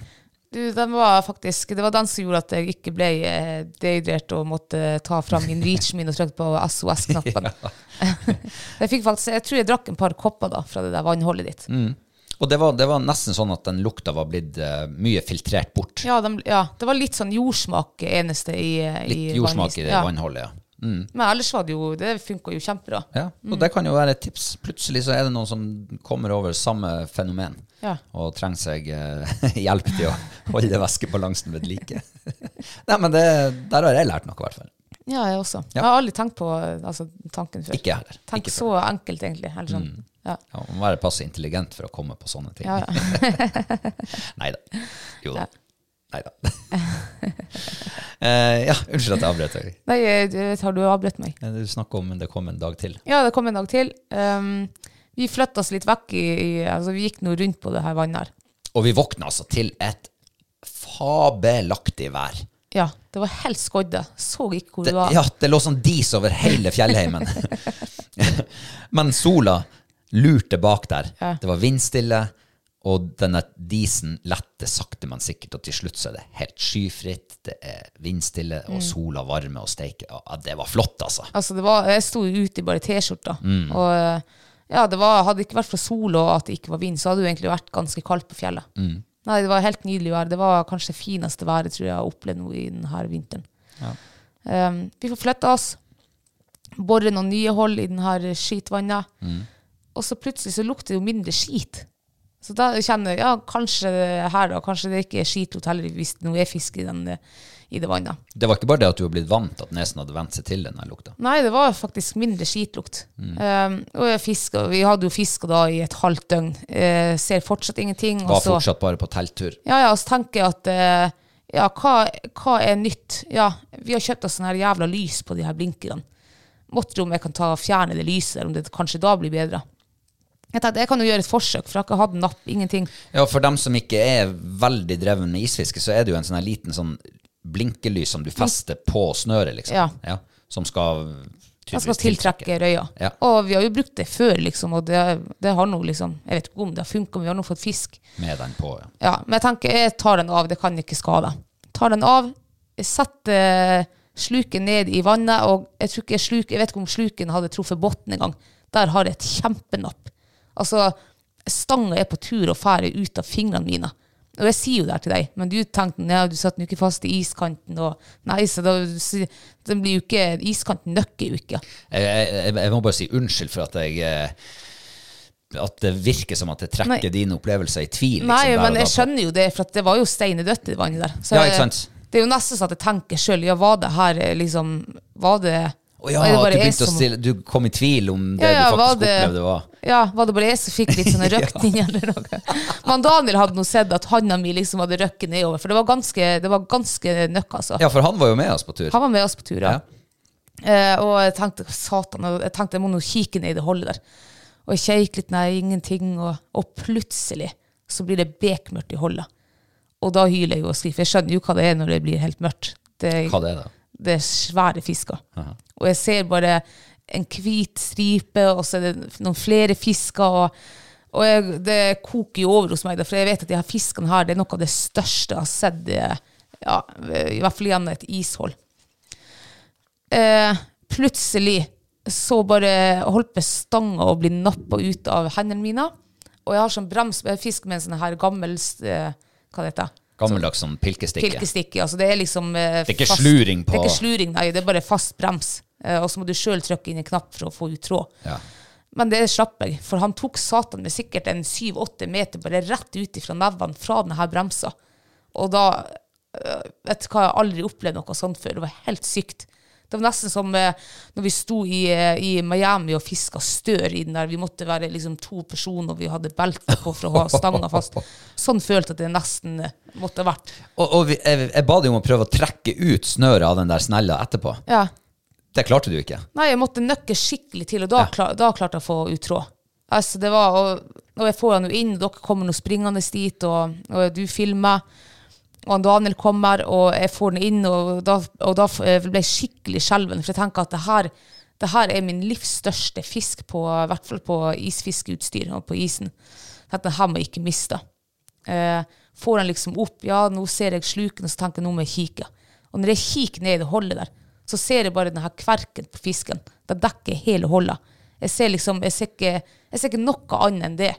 Speaker 4: Du, den var faktisk, det var den som gjorde at jeg ikke ble eh, dehydrert og måtte ta fram min reachen min og trykke på SOS-knappen. jeg, fikk faktisk, jeg tror jeg drakk en par kopper da, fra det der vannholdet ditt.
Speaker 3: Mm. Og det var, det var nesten sånn at den lukta var blitt eh, mye filtrert bort.
Speaker 4: Ja, dem- ja, det var litt sånn jordsmak eneste i, eh, i
Speaker 3: litt jordsmak i
Speaker 4: vannisen.
Speaker 3: det
Speaker 4: Ja.
Speaker 3: vannholdet, ja.
Speaker 4: Men ellers var det jo, det funket jo kjempebra.
Speaker 3: Ja,
Speaker 4: Mm.
Speaker 3: og det kan jo være et tips. Plutselig så er det noen som kommer over samme fenomen
Speaker 4: Ja.
Speaker 3: og trenger seg eh, hjelp til å holde væskebalansen ved like. Nei, men det, der har jeg lært noe, i hvert fall.
Speaker 4: Ja, jeg også.
Speaker 3: Ja.
Speaker 4: Jeg har aldri tenkt på altså, tanken før.
Speaker 3: Ikke jeg heller.
Speaker 4: Tenk
Speaker 3: Ikke Mm.
Speaker 4: så enkelt, egentlig. Eller sånn. Ja.
Speaker 3: Ja, man må være passe intelligent for å komme på sånne ting.
Speaker 4: Ja, ja.
Speaker 3: Nei da. Jo da. Nei da. Eh, ja, unnskyld at jeg avbrøt deg.
Speaker 4: Nei, eh, du- har du avbrutt meg?
Speaker 3: Eh, Du snakker om det kom en dag til.
Speaker 4: Ja, det kom en dag til. Um, vi flytta oss litt vekk i, i Altså, vi gikk nå rundt på det her vannet her.
Speaker 3: Og vi våkna altså til et fabelaktig vær.
Speaker 4: Ja, det var helt skodde. Så ikke hvor
Speaker 3: Det,
Speaker 4: det var.
Speaker 3: ja, det lå sånn dis over hele fjellheimen. Men sola lurte bak der.
Speaker 4: Ja.
Speaker 3: Det var vindstille, og denne disen lette sakte, men sikkert. Og til slutt så er det helt skyfritt, det er vindstille, og sola varmer og steiker. Ja, det var flott, altså.
Speaker 4: Altså, det var, jeg sto jo ute i bare T-skjorta. Og eh, ja, det var, hadde det ikke vært for sol og at det ikke var vind, så hadde det jo egentlig vært ganske kaldt på fjellet. Nei, det var helt nydelig vær. Det var kanskje det fineste været tror jeg jeg har opplevd nå i denne vinteren. Um, vi får flytta oss, bore noen nye hold i denne skitvannet, og så plutselig så lukter det jo mindre skit. Så da kjenner jeg, ja, kanskje det er her da, kanskje det ikke er skitlukt heller hvis det nå er fisk i, den, eh, i det vannet.
Speaker 3: Det var ikke bare det at du var blitt vant, at nesen hadde vent seg til denne lukta.
Speaker 4: Nei, det var faktisk mindre skitlukt.
Speaker 3: Mm.
Speaker 4: Um, og jeg fisket, vi hadde jo fiska da i et halvt døgn. Eh, ser fortsatt ingenting. og
Speaker 3: Var
Speaker 4: så-
Speaker 3: fortsatt bare på telttur.
Speaker 4: Ja, ja, og så tenker jeg at eh, ja, hva, hva er nytt? Ja, vi har kjøpt oss sånne her jævla lys på de her blinkerne. Måtte jo om jeg kan ta og fjerne det lyset, der, om det kanskje da blir bedre. Jeg tenkte, jeg kan jo gjøre et forsøk, for jeg har ikke hatt napp, ingenting.
Speaker 3: Ja, for dem som ikke er veldig dreven med isfiske, så er det jo en sånn her liten sånn blinkelys som du fester på snøret, liksom.
Speaker 4: Ja.
Speaker 3: som skal
Speaker 4: Jeg skal
Speaker 3: tydeligvis
Speaker 4: tiltrekke røya.
Speaker 3: Ja.
Speaker 4: Og vi har jo brukt det før, liksom, og det, det har nå liksom Jeg vet ikke om det har funka, men vi har nå fått fisk.
Speaker 3: med den på. Ja.
Speaker 4: Ja, men jeg tenker jeg tar den av, det kan ikke skade. Tar den av, setter eh, sluken ned i vannet, og jeg, tror ikke sluk, jeg vet ikke om sluken hadde truffet bunnen engang. Der har jeg et kjempenapp. Altså, stanga er på tur og fære ut av fingrene mine. Og jeg sier jo det her til deg, men du tenkte ja, du satt den jo ikke fast i iskanten. Og, nei, så da, så- den blir jo ikke, iskanten nøkker jo ikke.
Speaker 3: Jeg, jeg, jeg må bare si unnskyld for at jeg eh, at det virker som at det trekker
Speaker 4: Nei.
Speaker 3: dine opplevelser i tvil. Liksom,
Speaker 4: Nei,
Speaker 3: der og
Speaker 4: men
Speaker 3: da
Speaker 4: jeg
Speaker 3: på-
Speaker 4: skjønner jo det, for at det var jo steinedødt i det vannet der. Så
Speaker 3: Ja,
Speaker 4: jeg-
Speaker 3: ikke sant?
Speaker 4: Det er jo nesten sånn at jeg tenker sjøl, ja, var det her eh, liksom Var det
Speaker 3: Å ja,
Speaker 4: var det
Speaker 3: at du
Speaker 4: jeg
Speaker 3: begynte å
Speaker 4: som-
Speaker 3: stille Du kom i tvil om det
Speaker 4: Ja, ja,
Speaker 3: du
Speaker 4: var
Speaker 3: faktisk opplevde var
Speaker 4: Ja, var det bare jeg som fikk litt sånne røkning eller noe? Men Daniel hadde nå sett at handa mi liksom hadde røkket nedover, for det var ganske, det var ganske nøkk, altså.
Speaker 3: Ja, for han var jo med oss på tur.
Speaker 4: Han var med oss på tur, ja.
Speaker 3: Ja.
Speaker 4: Eh, og jeg tenkte satan, og jeg tenkte jeg må nå kikke ned i det holdet der. Og jeg kikket litt, nei, ingenting. Og, og plutselig så blir det bekmørkt i holdet. Og da hyler jeg jo og skriker. for Jeg skjønner jo hva det er når det blir helt mørkt. Det,
Speaker 3: Hva det er da?
Speaker 4: det er svære fisker. Og jeg ser bare en hvit stripe, og så er det noen flere fisker. og og jeg, det koker jo over hos meg, da, for jeg vet at de her fiskene her, det er noe av det største jeg har sett, eh, ja, i hvert fall gjennom et ishold eh, plutselig så bare holdt på stanga og bli nappa ut av hendene mine. Og jeg har sånn brems jeg fisker med en sånn her gammel eh, Hva det heter
Speaker 3: Gammeldags sånn pilkestikke.
Speaker 4: Pilkestikke. Altså det er liksom eh,
Speaker 3: Det er ikke sluring på-
Speaker 4: Det er ikke sluring, nei. Det er bare fast brems. Eh, og så må du sjøl trykke inn en knapp for å få ut tråd.
Speaker 3: Ja.
Speaker 4: Men det slapp jeg, for han tok satan med sikkert en 7-8 meter bare rett ut ifra nevene fra denne bremsa. Og da øh, Vet du hva, jeg har aldri opplevd noe sånt før. Det var helt sykt. Det var nesten som eh, når vi sto i, eh, i Miami og fiska stør i den der. Vi måtte være liksom to personer, og vi hadde belte på for å ha stanga fast. Sånn følte jeg at det nesten eh, måtte ha vært.
Speaker 3: Og, og vi, jeg, jeg ba deg om å prøve å trekke ut snøret av den der snella etterpå.
Speaker 4: Ja.
Speaker 3: Det klarte du ikke.
Speaker 4: Nei, jeg måtte nøkke skikkelig til, og da, kla- da klarte jeg å få ut tråd. Altså, det var, og, og jeg får han jo inn, og dere kommer nå springende dit, og, og du filmer, og han Daniel kommer, og jeg får den inn, og da, og da f- eh, ble jeg skikkelig skjelven, for jeg tenker at det her, det her er min livs største fisk, på, i hvert fall på isfiskeutstyr og på isen. Dette her må jeg ikke miste. Eh, får han liksom opp, ja, nå ser jeg sluken, og så tenker jeg nå må jeg kikke. Og når jeg kikker ned i det holdet der, så ser jeg bare denne kverken på fisken. Da dekker hele holdet. Jeg ser liksom, jeg ser ikke, jeg ser ikke noe annet enn det.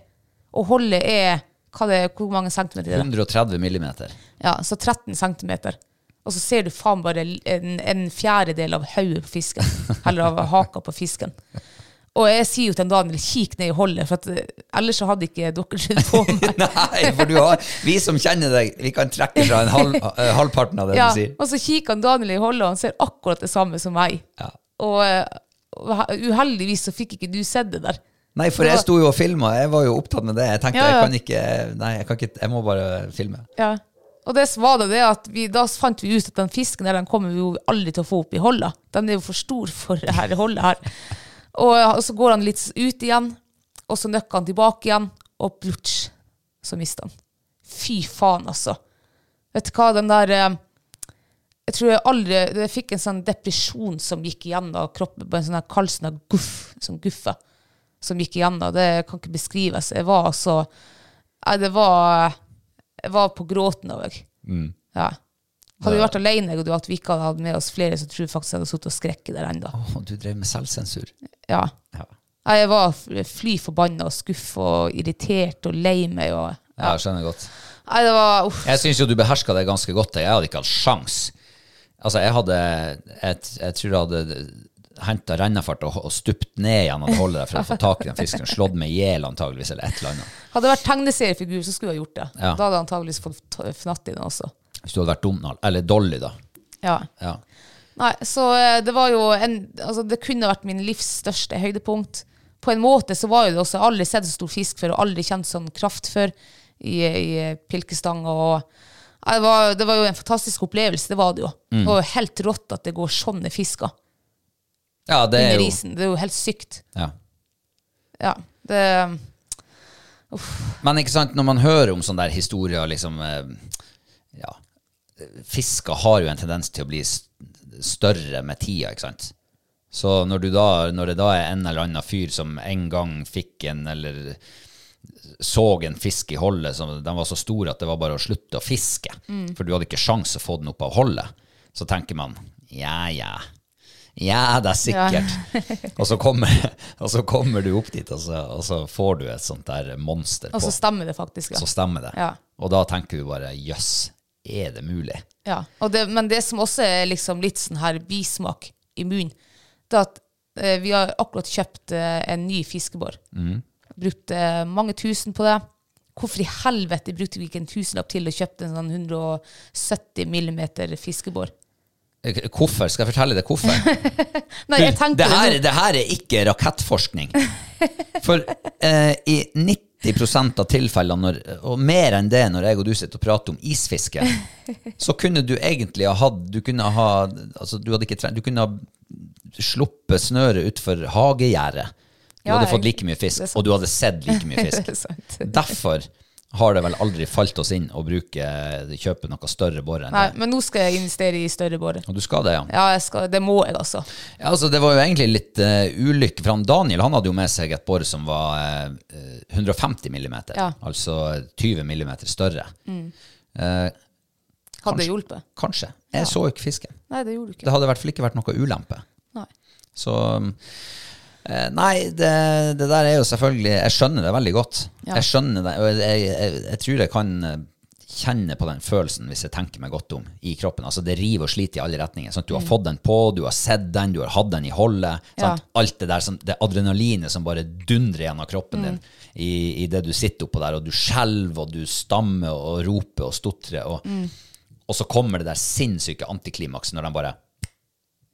Speaker 4: Og holdet er, hva det, hvor mange centimeter er det?
Speaker 3: 130 millimeter.
Speaker 4: Ja, så 13 centimeter. Og så ser du faen bare en, en fjerdedel av hodet på fisken. Eller av haka på fisken. Og jeg sier jo til en Daniel, kikk ned i holdet, for at, eh, ellers så hadde ikke dere skjedd på meg.
Speaker 3: Nei, for du har, vi som kjenner deg, vi kan trekke fra en halv, eh, halvparten av det
Speaker 4: Ja,
Speaker 3: du sier.
Speaker 4: og så kikker han Daniel i holdet, og han ser akkurat det samme som meg.
Speaker 3: Ja.
Speaker 4: Og eh, uheldigvis så fikk ikke du sett det der.
Speaker 3: Nei, for jeg sto jo og filma. Jeg var jo opptatt med det. Jeg tenkte
Speaker 4: Ja, ja.
Speaker 3: jeg kan ikke Nei, jeg kan ikke Jeg må bare filme.
Speaker 4: Ja. Og det var det det at vi, da fant vi ut at den fisken der, den kommer vi jo aldri til å få opp i holda. Den er jo for stor for det her holdet her. Og, og så går han litt ut igjen, og så nøkker han tilbake igjen, og plutsj, så mister han. Fy faen, altså. Vet du hva, den der eh, Jeg tror jeg aldri Jeg fikk en sånn depresjon som gikk igjennom kroppen, på en sånn her kald sånn her guff, som guffe, som gikk igjennom. Det kan ikke beskrives. Jeg var altså Nei, det var Jeg var på gråten av meg. Ja. Hadde vi vært alene, jeg og du, at vi ikke hadde hatt med oss flere, så tror jeg faktisk jeg hadde sittet og skrekket der ennå.
Speaker 3: Å, du drev med selvsensur.
Speaker 4: Ja.
Speaker 3: Ja.
Speaker 4: Nei, Jeg var f- fly forbanna og skuffa og irritert og lei meg og
Speaker 3: ja, skjønner godt.
Speaker 4: Nei, det var uff.
Speaker 3: Jeg syns jo du beherska det ganske godt. Jeg hadde ikke hatt sjans. Altså, jeg hadde Jeg, jeg tror jeg hadde henta rennefart og, og stupt ned gjennom det holdet der for å få tak i den fisken. Slått meg i hjel antageligvis, eller et eller annet.
Speaker 4: Hadde det vært tegneseriefigur, så skulle jeg gjort det.
Speaker 3: Ja.
Speaker 4: Da hadde jeg antageligvis fått ta- fnatt i den også.
Speaker 3: Hvis du hadde vært Donald, eller Dolly, da.
Speaker 4: Ja.
Speaker 3: Ja.
Speaker 4: Nei, så eh, det var jo en Altså, det kunne vært min livs største høydepunkt. På en måte så var jo det også Jeg har aldri sett så stor fisk før, og aldri kjent sånn kraft før i, i pilkestang og Nei, det, var, det var jo en fantastisk opplevelse, det var det jo.
Speaker 3: Mm.
Speaker 4: Det var jo helt rått at det går sånne fisker
Speaker 3: ja, det er
Speaker 4: under
Speaker 3: jo
Speaker 4: isen. Det er jo helt sykt.
Speaker 3: ja.
Speaker 4: Ja. Det
Speaker 3: Men ikke sant, når man hører om sånne der historier, liksom eh, Ja. Fisker har jo en tendens til å bli s- større med tida, ikke sant. Så når, du da, når det da er en eller annen fyr som en gang fikk en eller så en fisk i holdet, som den var så stor at det var bare å slutte å fiske,
Speaker 4: Mm.
Speaker 3: for du hadde ikke sjans å få den opp av holdet, så tenker man ja, ja. Ja, det er sikkert. og, så kommer, og så kommer du opp dit, og så, og så får du et sånt der monster
Speaker 4: Og
Speaker 3: på
Speaker 4: så stemmer det faktisk, ja.
Speaker 3: så stemmer det.
Speaker 4: Ja.
Speaker 3: Og da tenker du bare jøss, er det mulig?
Speaker 4: Ja, og det, men det som også er liksom litt sånn her bismak i munnen, det er at eh, vi har akkurat kjøpt eh, en ny fiskebår.
Speaker 3: Mm.
Speaker 4: Brukt eh, mange tusen på det. Hvorfor i helvete brukte vi ikke en tusenlapp til og kjøpte en sånn 170 millimeter fiskebår?
Speaker 3: K- Hvorfor? Skal jeg fortelle deg hvorfor?
Speaker 4: Nei, jeg tenkte
Speaker 3: det, her,
Speaker 4: nå-
Speaker 3: det her er ikke rakettforskning. For eh, i 90 av tilfellene, når, og mer enn det når jeg og du sitter og prater om isfiske, så kunne du egentlig ha hatt Du kunne ha, altså, du hadde ikke trengt, du kunne ha sluppet snøret utfor hagegjerdet. Du
Speaker 4: Ja,
Speaker 3: hadde fått
Speaker 4: jeg-
Speaker 3: like mye
Speaker 4: det er
Speaker 3: fisk,
Speaker 4: sant.
Speaker 3: og du hadde sett like mye fisk.
Speaker 4: Det er sant.
Speaker 3: Derfor har det vel aldri falt oss inn å bruke, kjøpe noe større båre enn
Speaker 4: Nei,
Speaker 3: det.
Speaker 4: men nå skal jeg investere i større båre.
Speaker 3: Og du skal det, ja.
Speaker 4: Ja, jeg skal, det må jeg, altså.
Speaker 3: Ja, altså Det var jo egentlig litt eh, ulykke. For han Daniel han hadde jo med seg et bor som var eh, eh, 150 millimeter.
Speaker 4: Ja.
Speaker 3: Altså 20 millimeter større. Eh,
Speaker 4: Hadde det hjulpet?
Speaker 3: kanskje. Jeg så jo ikke fisken.
Speaker 4: Nei, det gjorde du
Speaker 3: Det
Speaker 4: ikke.
Speaker 3: hadde i hvert fall ikke vært noe ulempe.
Speaker 4: Nei.
Speaker 3: Så eh, Nei, det, det der er jo selvfølgelig Jeg skjønner det veldig godt.
Speaker 4: Ja.
Speaker 3: Jeg skjønner det, og jeg, jeg, jeg tror jeg kan eh, kjenne på den følelsen hvis jeg tenker meg godt om i kroppen. Altså Det river og sliter i alle retninger. Sant? Du
Speaker 4: Mm.
Speaker 3: har fått den på, du har sett den, du har hatt den i holdet. Sant? Alt det der, som- det adrenalinet som bare dundrer gjennom kroppen din
Speaker 4: Mm.
Speaker 3: i, i det du sitter oppå der, og du skjelver, og du stammer og roper og stotrer. Og,
Speaker 4: Mm.
Speaker 3: og så kommer det der sinnssyke antiklimakset når den bare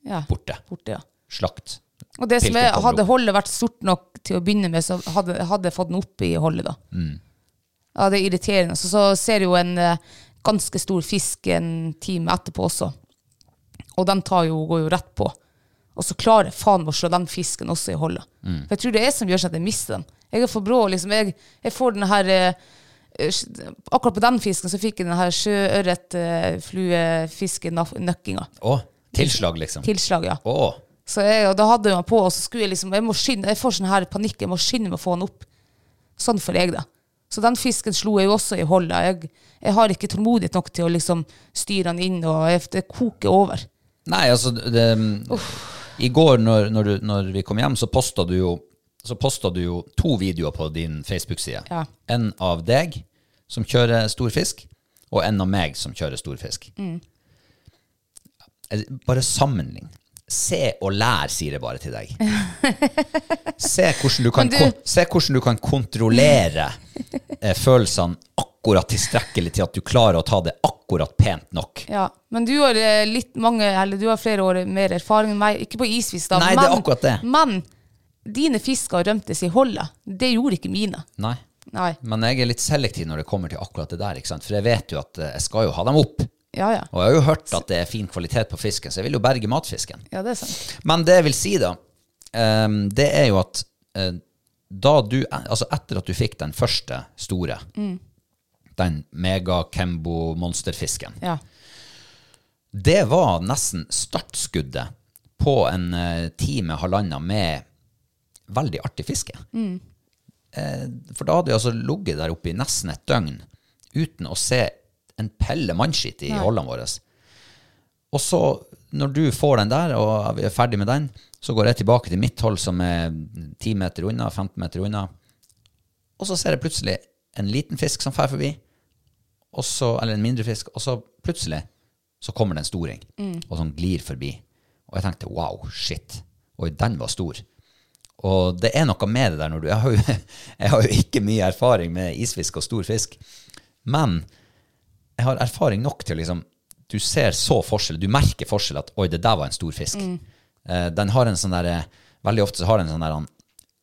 Speaker 4: Ja.
Speaker 3: borte.
Speaker 4: Borte, ja.
Speaker 3: Slakt.
Speaker 4: Og det som
Speaker 3: Pilken
Speaker 4: er,
Speaker 3: kommer
Speaker 4: hadde
Speaker 3: opp.
Speaker 4: holdet vært stort nok til å begynne med, så hadde, hadde jeg fått den opp i holdet da.
Speaker 3: Mm.
Speaker 4: Ja, det er irriterende. Så, så ser jeg jo en eh, ganske stor fisk en time etterpå også. Og den tar jo, går jo rett på. Og så klarer jeg faen meg å slå den fisken også i holdet.
Speaker 3: Mm.
Speaker 4: For jeg tror det er jeg som gjør sånn at jeg mister den. Jeg er for brå, liksom. Jeg, jeg får den her eh, eh, sj- Akkurat på den fisken så fikk jeg den her sjøørretfluefiskenøkkinga.
Speaker 3: Å, tilslag, liksom.
Speaker 4: Tilslag, ja.
Speaker 3: Å,
Speaker 4: Så jeg, og da hadde jeg meg på, og så skulle jeg liksom Jeg, må skynde, jeg får sånn her panikk, jeg må skynde meg å få han opp. Sånn får jeg det. Så den fisken slo jeg jo også i holdet. Jeg, jeg har ikke tålmodighet nok til å liksom styre han inn, og jeg, det koker over.
Speaker 3: Nei, altså det, I går når, når, du, når vi kom hjem, så posta du jo så posta du jo to videoer på din Facebook-side.
Speaker 4: Ja.
Speaker 3: En av deg som kjører stor fisk, og en av meg som kjører stor fisk.
Speaker 4: Mm.
Speaker 3: Eh, Bare sammenlign. Se og lær, sier jeg bare til deg. Se hvordan du kan,
Speaker 4: Men du-
Speaker 3: kon se hvordan du kan kontrollere eh, følelsene akkurat tilstrekkelig til at du klarer å ta det akkurat pent nok.
Speaker 4: Ja, men du har eh, litt mange, eller du har flere år mer erfaring enn meg. Ikke på isfisk, da.
Speaker 3: Nei, det
Speaker 4: men,
Speaker 3: er akkurat det.
Speaker 4: Men dine fisker rømtes i holda. Det gjorde ikke mine.
Speaker 3: Nei.
Speaker 4: Nei.
Speaker 3: Men jeg er litt selektiv når det kommer til akkurat det der, ikke sant? for jeg vet jo at eh, jeg skal jo ha dem opp.
Speaker 4: Ja, ja.
Speaker 3: Og jeg har jo hørt at det er fin kvalitet på fisken, så jeg vil jo berge matfisken.
Speaker 4: Ja, det er sant.
Speaker 3: Men det jeg vil si, da, ehm, det er jo at eh, da du Altså, etter at du fikk den første store, den mega-Kembo-monsterfisken,
Speaker 4: Ja.
Speaker 3: det var nesten startskuddet på en eh, time, halvannen med veldig artig fiske. Eh, For da hadde vi altså ligget der oppe i nesten et døgn uten å se en pelle mannskitt i holdene våre. Og så, når du får den der, og vi er ferdig med den, så går jeg tilbake til mitt hold, som er 10 meter unna, 15 meter unna. Og så ser jeg plutselig en liten fisk som fer forbi, og så, eller en mindre fisk, og så plutselig så kommer det en storing, og som glir forbi. Og jeg tenkte wow, shit. Oi, den var stor. Og det er noe med det der når du Jeg har jo, jeg har jo ikke mye erfaring med isfisk og stor fisk, men jeg har erfaring nok til å liksom Du ser så forskjell, du merker forskjell at oi, det der var en stor fisk. Eh, den har en sånn der eh, Veldig ofte så har den sånn der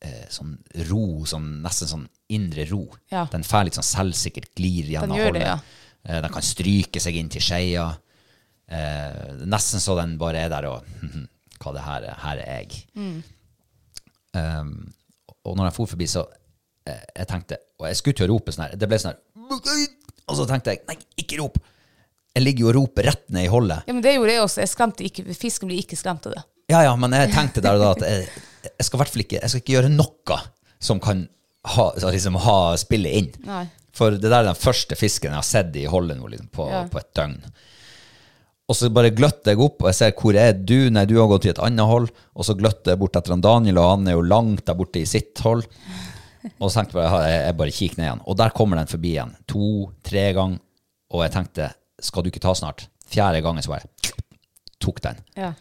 Speaker 3: eh, sånn ro, sånn, nesten sånn indre ro.
Speaker 4: Ja.
Speaker 3: Den får litt sånn selvsikkert glir gjennom
Speaker 4: gjør det,
Speaker 3: holdet. Eh, den kan stryke seg inn til skeia. Eh, nesten så den bare er der og hm, Hva det her er? Her er jeg.
Speaker 4: Mm.
Speaker 3: Um, og når jeg for forbi, så eh, jeg tenkte Og jeg skulle til å rope sånn her. Det ble sånn her Og så tenkte jeg nei, ikke rop! Jeg ligger jo og roper rett ned i holdet.
Speaker 4: ja, men det gjorde jeg også. Jeg skremte ikke, fisken blir ikke skremt av det.
Speaker 3: Ja, ja, men jeg tenkte der og da at jeg, jeg skal i hvert fall ikke, jeg skal ikke gjøre noe som kan ha, så liksom ha spillet inn.
Speaker 4: Nei.
Speaker 3: For det der er den første fisken jeg har sett i holdet nå, liksom, på,
Speaker 4: Ja.
Speaker 3: på et døgn. Og så bare gløtter jeg opp, og jeg ser hvor er du? Nei, du har gått i et annet hold. Og så gløtter jeg bort etter han Daniel, og han er jo langt der borte i sitt hold. Og så tenkte jeg bare, jeg, jeg bare kikker ned igjen. Og der kommer den forbi igjen. To-tre ganger. Og jeg tenkte, skal du ikke ta snart? Fjerde gangen så bare tok den.
Speaker 4: Ja.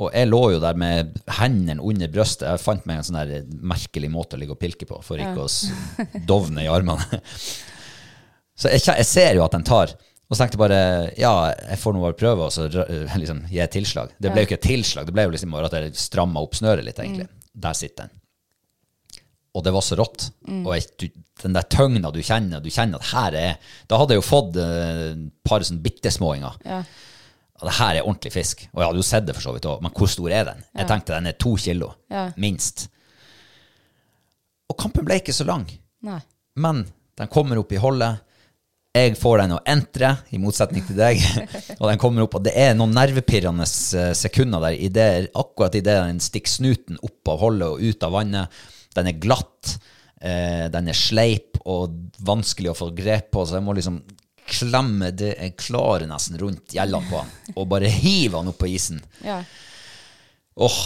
Speaker 3: Og jeg lå jo der med hendene under brøstet. Jeg fant meg en sånn der merkelig måte å ligge og pilke på, for ikke å s- dovne i armene. Så jeg, kje- jeg ser jo at den tar. Og så tenkte jeg bare ja, jeg får nå bare prøve og så rø- liksom, gi et tilslag. Det ble jo ikke et tilslag, det ble jo liksom bare at jeg stramma opp snøret litt, egentlig. Der sitter den. Og det var så rått. Og jeg, du, den der tøgna du kjenner, du kjenner at her er Da hadde jeg jo fått eh, et par sånn bittesmåinger.
Speaker 4: Ja.
Speaker 3: Ja, det her er ordentlig fisk. Og jeg hadde jo sett det for så vidt òg, men hvor stor er den? Jeg tenkte den er to kilo,
Speaker 4: Ja.
Speaker 3: minst. Og kampen ble ikke så lang,
Speaker 4: Nei.
Speaker 3: men den kommer opp i holdet. Jeg får den å entre, i motsetning til deg. og den kommer opp, og det er noen nervepirrende eh, sekunder der, i det, akkurat idet den stikker snuten opp av holdet og ut av vannet. Den er glatt, eh, den er sleip og vanskelig å få grep på, så jeg må liksom klemme det jeg klarer nesten rundt gjellene på han, og bare hive han opp på isen.
Speaker 4: Ja.
Speaker 3: Åh,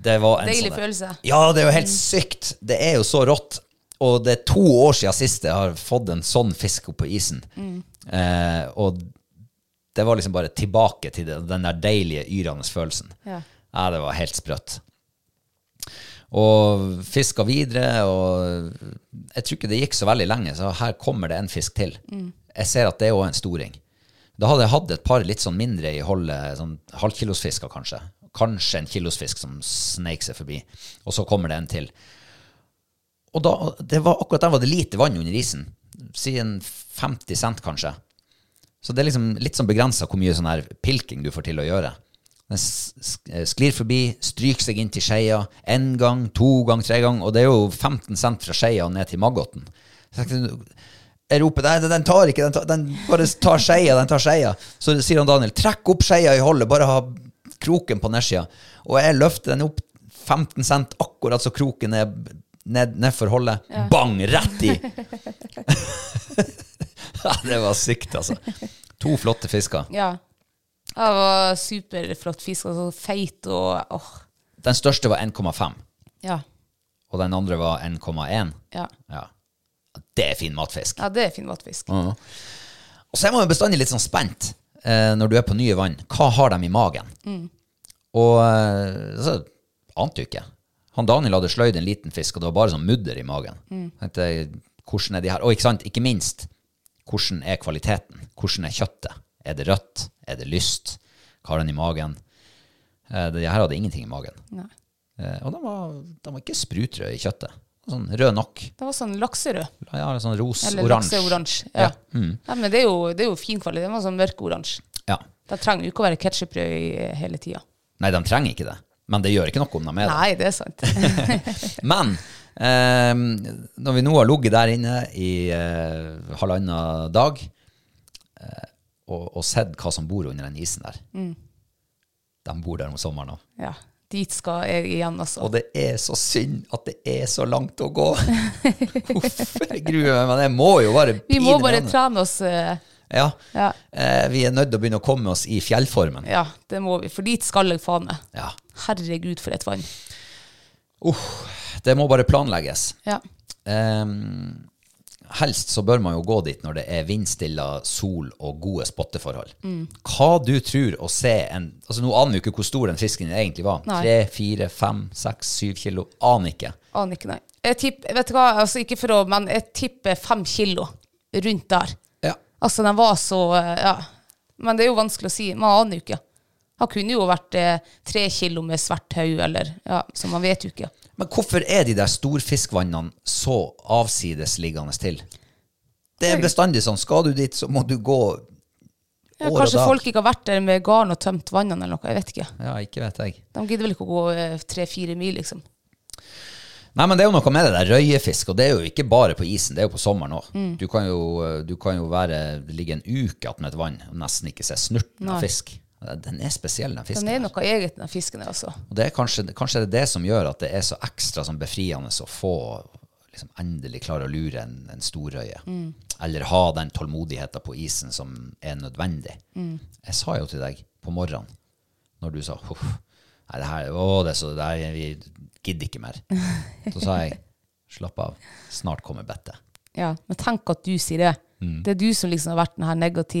Speaker 3: det var en
Speaker 4: Deilig
Speaker 3: sånn
Speaker 4: følelse.
Speaker 3: Ja, det er jo helt sykt. Det er jo så rått. Og det er to år siden sist jeg har fått en sånn fisk opp på isen. Eh, og det var liksom bare tilbake til det, den der deilige, yrende følelsen.
Speaker 4: Ja.
Speaker 3: Ja, det var helt sprøtt. Og fiska videre, og jeg tror ikke det gikk så veldig lenge, så her kommer det en fisk til. Jeg ser at det er òg en storing. Da hadde jeg hatt et par litt sånn mindre i holdet, sånn halvkilosfisker kanskje. Kanskje en kilosfisk som sneik seg forbi. Og så kommer det en til. Og da, det var, akkurat der var det lite vann under isen. Si en 50 cent, kanskje. Så det er liksom litt sånn begrensa hvor mye sånn her pilking du får til å gjøre. Den s- s- sklir forbi, stryker seg inn til skeia én gang, to gang, tre gang, og det er jo 15 cent fra skeia ned til Maggoten. Så jeg tenkte, jeg roper nei, den- den tar ikke, den, tar, den bare tar skeia, den tar skeia. Så sier han Daniel, trekk opp skeia i holdet, bare ha kroken på nedsida. Og jeg løfter den opp 15 cent, akkurat så kroken er ned, nedfor holdet. Bang! Rett i! Ja, det var sykt, altså. To flotte fisker.
Speaker 4: Ja. Det var superflott fisk, og så feit og åh.
Speaker 3: Den største var 1,5,
Speaker 4: Ja.
Speaker 3: og den andre var 1,1.
Speaker 4: Ja.
Speaker 3: Ja. Det er fin matfisk.
Speaker 4: ja, det er fin matfisk.
Speaker 3: Og så er man jo bestandig litt sånn spent eh, når du er på
Speaker 4: Mm.
Speaker 3: nye vann. Hva har de i magen? Og eh, så ante du ikke. Han Daniel hadde sløyd en liten fisk, og det var bare sånn mudder i magen.
Speaker 4: Mm.
Speaker 3: Tenkte, jeg, hvordan er de her? Og ikke sant, ikke minst, hvordan er kvaliteten? Hvordan er kjøttet? Er det rødt? Er det lyst? Hva har den i magen? Eh, De her hadde ingenting i magen.
Speaker 4: Nei.
Speaker 3: Eh, Og de var, de var ikke sprutrøde i kjøttet. Sånn rød nok.
Speaker 4: Det var sånn lakserød.
Speaker 3: Ja, sånn
Speaker 4: Eller
Speaker 3: ros-oransje.
Speaker 4: lakseoransje. Ja.
Speaker 3: Mm.
Speaker 4: Nei, men det er, jo, det er jo fin kvalitet. Det var sånn mørkeoransje.
Speaker 3: Ja.
Speaker 4: Da trenger du ikke å være ketsjuprød i- eh, hele tida.
Speaker 3: Nei, de trenger ikke det. Men det gjør ikke noe om de er det.
Speaker 4: Nei, det er sant.
Speaker 3: Men eh, når vi nå har ligget der inne i eh, halvannen dag eh, og, og sett hva som bor under den isen der
Speaker 4: Mm.
Speaker 3: De bor der om sommeren òg.
Speaker 4: Ja. Dit skal jeg igjen, altså.
Speaker 3: Og det er så synd at det er så langt å gå. Uff, jeg gruer meg, men jeg må jo bare
Speaker 4: Vi må
Speaker 3: pine
Speaker 4: bare
Speaker 3: meg.
Speaker 4: trene oss. eh,
Speaker 3: ja.
Speaker 4: Ja.
Speaker 3: Eh, Vi er nødt til å begynne å komme oss i fjellformen.
Speaker 4: ja, det må vi. For dit skal jeg faen meg.
Speaker 3: Ja.
Speaker 4: Herregud, for et vann.
Speaker 3: Det må bare planlegges.
Speaker 4: Ja.
Speaker 3: Ehm, helst så bør man jo gå dit når det er vindstilla, sol og gode spotteforhold.
Speaker 4: Mm.
Speaker 3: Hva du tror å se en altså Nå aner vi jo ikke hvor stor den fisken egentlig var.
Speaker 4: Nei.
Speaker 3: Tre, fire, fem, seks, syv kilo. Aner ikke.
Speaker 4: Aner ikke, nei. Jeg tipper, vet du hva, altså ikke for å, men jeg tipper fem kilo rundt der.
Speaker 3: Ja.
Speaker 4: Altså, den var så eh, Ja. Men det er jo vanskelig å si. Man aner jo ikke. Han kunne jo vært eh, tre kilo med svart hau, eller Ja, så man vet jo ikke.
Speaker 3: Men hvorfor er de der storfiskvannene så avsidesliggende til? Det er bestandig sånn. Skal du dit, så må du gå
Speaker 4: Ja,
Speaker 3: år og
Speaker 4: kanskje
Speaker 3: dag.
Speaker 4: folk ikke har vært der med garn og tømt vannene eller noe. Jeg vet ikke.
Speaker 3: Ja, ikke vet jeg.
Speaker 4: De gidder vel ikke å gå eh, tre-fire mil, liksom.
Speaker 3: Nei, men det er jo noe med det der røyefisk, og det er jo ikke bare på isen, det er jo på sommeren òg.
Speaker 4: Mm.
Speaker 3: Du, kan jo- eh, du kan jo være, ligge en uke attmed et vann og nesten ikke se snurten av
Speaker 4: Nei.
Speaker 3: fisk. Den er spesiell, den fisken.
Speaker 4: Den
Speaker 3: der.
Speaker 4: er noe eget, den fisken her, altså.
Speaker 3: Og det er kanskje, kanskje det er det som gjør at det er så ekstra sånn befriende å få liksom, endelig klare å lure en, en storrøye. Eller ha den tålmodigheten på isen som er nødvendig. Jeg sa jo til deg på morgenen, når du sa «Huff, Nei, det her, å, det er så, det her, vi gidder ikke mer. Så sa jeg slapp av, snart kommer bettet.
Speaker 4: Ja, men tenk at du sier det. Det er du som liksom har vært den her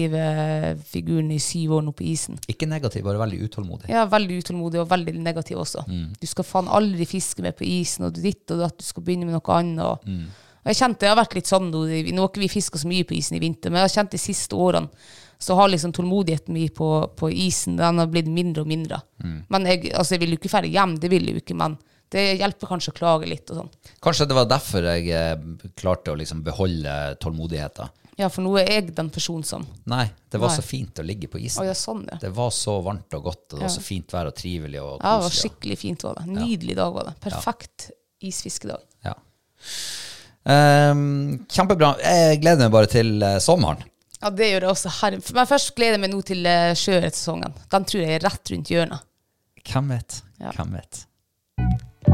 Speaker 4: negative figuren i syv år nå på isen.
Speaker 3: Ikke negativ, bare veldig utålmodig.
Speaker 4: Ja, veldig utålmodig og veldig negativ også.
Speaker 3: Mm.
Speaker 4: Du skal faen aldri fiske med på isen, og du ditt og datt, du skal begynne med noe annet. Og,
Speaker 3: Mm.
Speaker 4: og jeg kjente, jeg har vært litt sånn nå, det- nå har ikke vi fisket så mye på isen i vinter, men jeg har kjent de siste årene, så har liksom tålmodigheten min på, på isen, den har blitt mindre og mindre.
Speaker 3: Mm.
Speaker 4: Men jeg, altså, jeg vil jo ikke ferdig hjem, det vil jeg jo ikke, men det hjelper kanskje å klage litt og sånn.
Speaker 3: Kanskje det var derfor jeg eh, klarte å liksom beholde tålmodigheten.
Speaker 4: Ja, for nå er jeg den personen som,
Speaker 3: Nei, det var
Speaker 4: Nei.
Speaker 3: så fint å ligge på isen.
Speaker 4: å ja, sånn ja.
Speaker 3: Det var så varmt og godt, og det var så fint vær og trivelig og
Speaker 4: Ja, det var
Speaker 3: koselig.
Speaker 4: skikkelig fint var det. Nydelig dag var det. Perfekt isfiskedag.
Speaker 3: Ja. Ehm, kjempebra. Jeg gleder meg bare til eh, sommeren.
Speaker 4: Ja, det gjør jeg også her. Men først gleder jeg meg nå til eh, sjøørretsesongen. Den tror jeg er rett rundt hjørnet.
Speaker 3: Hvem vet?
Speaker 4: Ja.
Speaker 3: Hvem vet?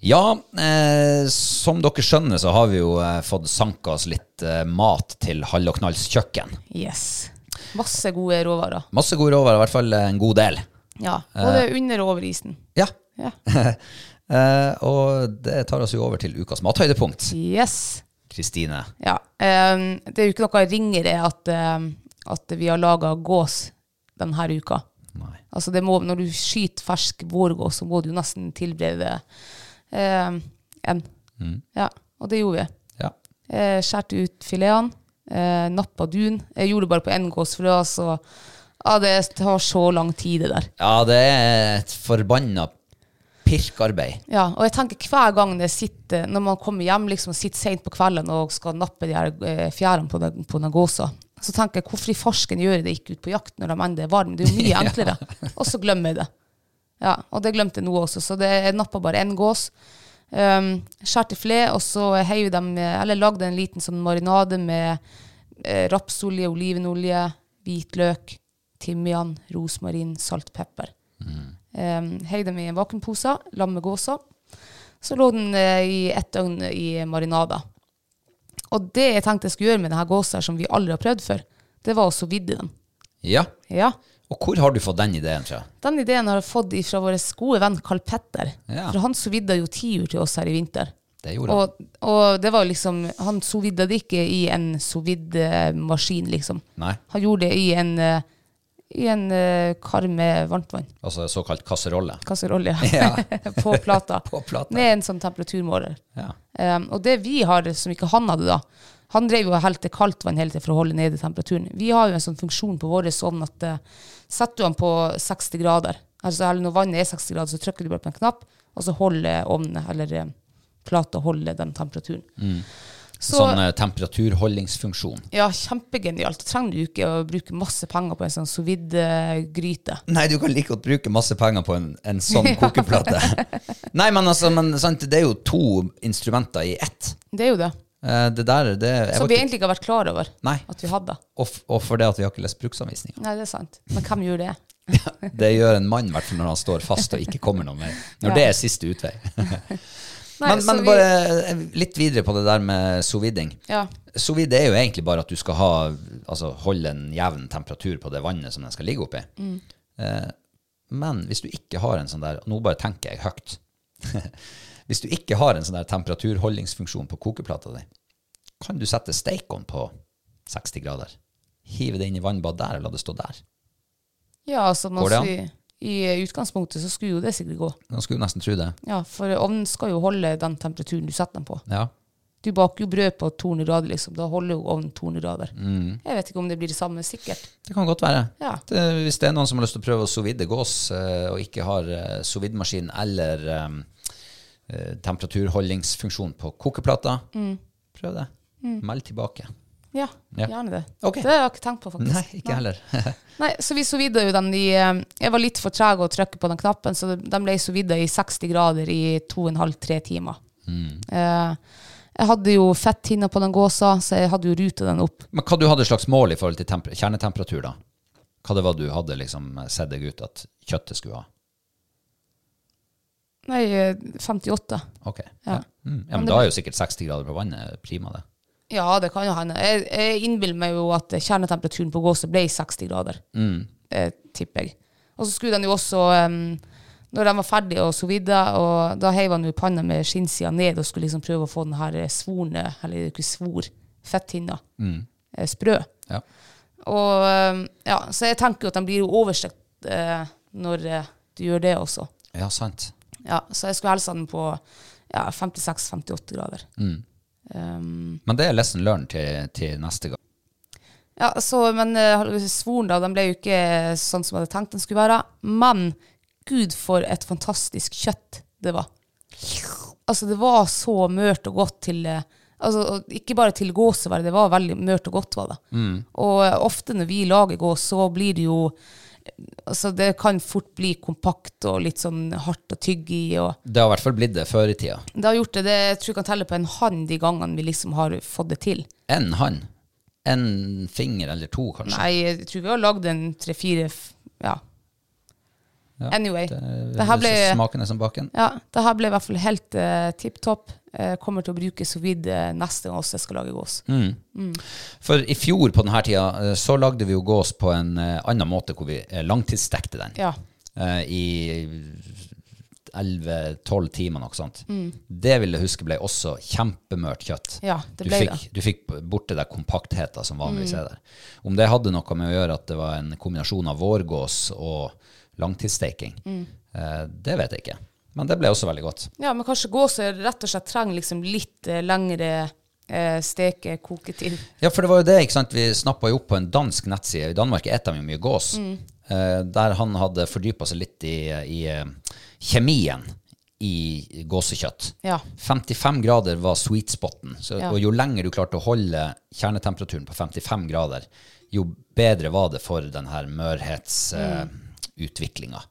Speaker 3: Ja, eh, som dere skjønner, så har vi jo eh, fått sanka oss litt eh, mat til Hall og Knalls kjøkken.
Speaker 4: Yes. Masse gode råvarer.
Speaker 3: Masse gode råvarer, i hvert fall eh, en god del.
Speaker 4: Ja. Både under og over isen.
Speaker 3: Ja.
Speaker 4: Ja.
Speaker 3: Eh, og det tar oss jo over til ukas mathøydepunkt.
Speaker 4: Yes.
Speaker 3: Kristine.
Speaker 4: Ja. ehm, det er jo ikke noe ringere at, ehm, at vi har laga gås denne uka.
Speaker 3: Nei.
Speaker 4: Altså det må, når du skyter fersk vårgås, så må du jo nesten tilberede ehm, en. Ja. Og det gjorde vi.
Speaker 3: Ja.
Speaker 4: Eh, skjærte ut filetene, eh, nappa dun. Jeg gjorde det bare på én gås, for det var så Ja, det tar så lang tid, det der.
Speaker 3: Ja, det er et forbanna pirkarbeid.
Speaker 4: Ja, og jeg tenker hver gang jeg sitter, når man kommer hjem liksom, og sitter sent på kvelden og skal nappe de her eh, fjærene på den, på den gåsa, så tenker jeg hvorfor i farsken gjør jeg det ikke ut på jakt når de ennå er varme? Det er jo mye enklere. Og så glemmer jeg det. Ja, og det glemte jeg nå også, så det, jeg nappa bare én gås. Um, Skjærte filet, og så heiv dem, eller lagde en liten sånn marinade med eh, rapsolje, olivenolje, hvitløk, timian, rosmarin, salt, pepper. Um, heiv dem i en vakuumpose, la med gåsa. Så lå den eh, i ett døgn i marinada. Og det jeg tenkte jeg skulle gjøre med denne gåsa, her, som vi aldri har prøvd før, det var å sous vide den.
Speaker 3: Ja.
Speaker 4: Ja.
Speaker 3: Og hvor har du fått den ideen fra?
Speaker 4: Den ideen har jeg fått fra vår gode venn Karl Petter.
Speaker 3: Ja.
Speaker 4: For han sous vide jo tiur til oss her i vinter.
Speaker 3: Det gjorde han.
Speaker 4: Og, og det var jo liksom Han sous vide det ikke i en sous vide-maskin, liksom.
Speaker 3: Nei.
Speaker 4: Han gjorde det i en, eh, i en eh, kar med varmtvann.
Speaker 3: Altså såkalt kasserolle.
Speaker 4: Kasserolle, ja.
Speaker 3: Ja.
Speaker 4: på plata.
Speaker 3: På plata.
Speaker 4: Med en sånn temperaturmåler.
Speaker 3: Ja.
Speaker 4: Um, og det vi har, som ikke han hadde da Han drev jo og helte kaldt vann hele tiden for å holde nede temperaturen. Vi har jo en sånn funksjon på vår ovn at eh, setter du den på 60 grader, altså eller når vannet er 60 grader, så trykker du bare på en knapp, og så holder ovnen, eller eh, plata, holder den temperaturen. Så,
Speaker 3: Mm. Sånn eh, temperaturholdingsfunksjon.
Speaker 4: ja, kjempegenialt. Trenger du ikke å bruke masse penger på en sånn sous vide-gryte.
Speaker 3: Nei, du kan like godt bruke masse penger på en, en sånn kokeplate. Nei, men altså, men, sant, det er jo to instrumenter i ett.
Speaker 4: Det er jo det.
Speaker 3: Eh, Det der, det jeg
Speaker 4: Som
Speaker 3: var
Speaker 4: vi
Speaker 3: ikke-
Speaker 4: egentlig ikke har vært klar over
Speaker 3: Nei.
Speaker 4: at vi hadde.
Speaker 3: Og, f- og for det at vi har ikke lest bruksanvisninga.
Speaker 4: Nei, det er sant. Men hvem gjør det?
Speaker 3: Det gjør en mann, i hvert fall når han står fast og ikke kommer noen vei. Når
Speaker 4: Ja.
Speaker 3: det er siste utvei.
Speaker 4: Nei,
Speaker 3: men
Speaker 4: så
Speaker 3: men
Speaker 4: vi-
Speaker 3: bare eh, litt videre på det der med soviding.
Speaker 4: Ja.
Speaker 3: Sovid er jo egentlig bare at du skal ha, altså, holde en jevn temperatur på det vannet som den skal ligge oppi. Eh, men hvis du ikke har en sånn der Nå bare tenker jeg høyt. hvis du ikke har en sånn der temperaturholdingsfunksjon på kokeplata di, kan du sette steikon på 60 grader. Hive det inn i vannbad der og la det stå der.
Speaker 4: Ja, altså man
Speaker 3: Går det an?
Speaker 4: skulle, i utgangspunktet så skulle jo det sikkert gå.
Speaker 3: Man skulle jo nesten tro det.
Speaker 4: Ja, for ovnen skal jo holde den temperaturen du setter den på.
Speaker 3: Ja.
Speaker 4: Du baker jo brød på 200 grader, liksom. Da holder jo ovnen 200 grader.
Speaker 3: Mm.
Speaker 4: Jeg vet ikke om det blir det samme, sikkert.
Speaker 3: Det kan godt være.
Speaker 4: Ja.
Speaker 3: Det, eh, hvis det er noen som har lyst til å prøve å sovide gås, eh, og ikke har eh, sovidmaskin eller eh, eh, temperaturholdingsfunksjon på kokeplata, prøv det. Meld tilbake.
Speaker 4: Ja,
Speaker 3: Ja.
Speaker 4: gjerne det.
Speaker 3: Ok.
Speaker 4: Det har jeg ikke tenkt på, faktisk.
Speaker 3: Nei, ikke heller.
Speaker 4: Nei, så vi sovida jo den i eh, Jeg var litt for treg å trykke på den knappen, så den ble sovida i 60 grader i 2,5-3 timer. Eh, jeg hadde jo fetthinna på den gåsa, så jeg hadde jo ruta den opp.
Speaker 3: Men hva du hadde slags mål i forhold til temper kjernetemperatur, da? Hva det var du hadde liksom sett deg ut at kjøttet skulle ha?
Speaker 4: Nei, eh, 58.
Speaker 3: Ok.
Speaker 4: Ja.
Speaker 3: Mm. ja men da er jo sikkert 60 grader på vannet eh, prima, det.
Speaker 4: Ja, det kan jo hende. Jeg, jeg innbiller meg jo at kjernetemperaturen på gåsa ble 60 grader, eh, tipper jeg. Og så skulle den jo også em, Når den var ferdig og så videre, og da heiv han jo panna med skinnsida ned og skulle liksom prøve å få den her eh, svorne, eller ikke svor, fetthinna, eh, sprø.
Speaker 3: Ja.
Speaker 4: Og em, ja, Så jeg tenker jo at den blir jo overstekt eh, når eh, du gjør det også.
Speaker 3: ja, sant.
Speaker 4: Ja, Så jeg skulle helse den på ja, 56-58 grader. Em,
Speaker 3: Men det er lesson learned til, til neste gang.
Speaker 4: Ja, så, men uh, svoren da, den ble jo ikke sånn som jeg hadde tenkt den skulle være. Men gud, for et fantastisk kjøtt det var. Altså, det var så mørt og godt til eh, altså, og Ikke bare til gåsevær, det var veldig mørt og godt, var det. Og eh, ofte når vi lager gås, så blir det jo Altså, det kan fort bli kompakt og litt sånn hardt å tygge i. og...
Speaker 3: Det har i hvert fall blitt det før i tida.
Speaker 4: Det har gjort det, det jeg tror jeg kan telle på en hånd de gangene vi liksom har fått det til.
Speaker 3: En hann. En finger eller to, kanskje.
Speaker 4: Nei, jeg tror vi har lagd en tre-fire ja.
Speaker 3: Ja,
Speaker 4: Anyway.
Speaker 3: Det,
Speaker 4: Det her ble,
Speaker 3: så smakende som baken.
Speaker 4: ja, det her ble i hvert fall helt uh, tipp topp. Eh, kommer til å bruke sous vide eh, neste gang også jeg skal lage gås.
Speaker 3: Mm.
Speaker 4: Mm.
Speaker 3: For i fjor på denne tida eh, så lagde vi jo gås på en eh, annen måte, hvor vi eh, langtidsstekte den
Speaker 4: Ja.
Speaker 3: eh, i 11-12 timer, noe sånt.
Speaker 4: Mm.
Speaker 3: Det vil jeg huske ble også kjempemørt kjøtt.
Speaker 4: Ja,
Speaker 3: du,
Speaker 4: det Mm. ble
Speaker 3: fikk, du fikk borte den kompaktheten som vanligvis er der. Om det hadde noe med å gjøre at det var en kombinasjon av vårgås og langtidssteiking,
Speaker 4: Mm.
Speaker 3: eh, det vet jeg ikke. Men det ble også veldig godt.
Speaker 4: ja, men kanskje gås er rett og slett trenger liksom litt eh, lengre eh, steke, koketid.
Speaker 3: Ja, for det var jo det, ikke sant? Vi snappa jo opp på en dansk nettside. I Danmark eter de jo mye gås.
Speaker 4: Mm.
Speaker 3: Eh, der han hadde fordypa seg litt i, i eh, kjemien i gåsekjøtt.
Speaker 4: Ja.
Speaker 3: 55 grader var sweet spoten. Så,
Speaker 4: Ja.
Speaker 3: Og jo lenger du klarte å holde kjernetemperaturen på 55 grader, jo bedre var det for den her
Speaker 4: Mm.
Speaker 3: mørhetsutviklinga.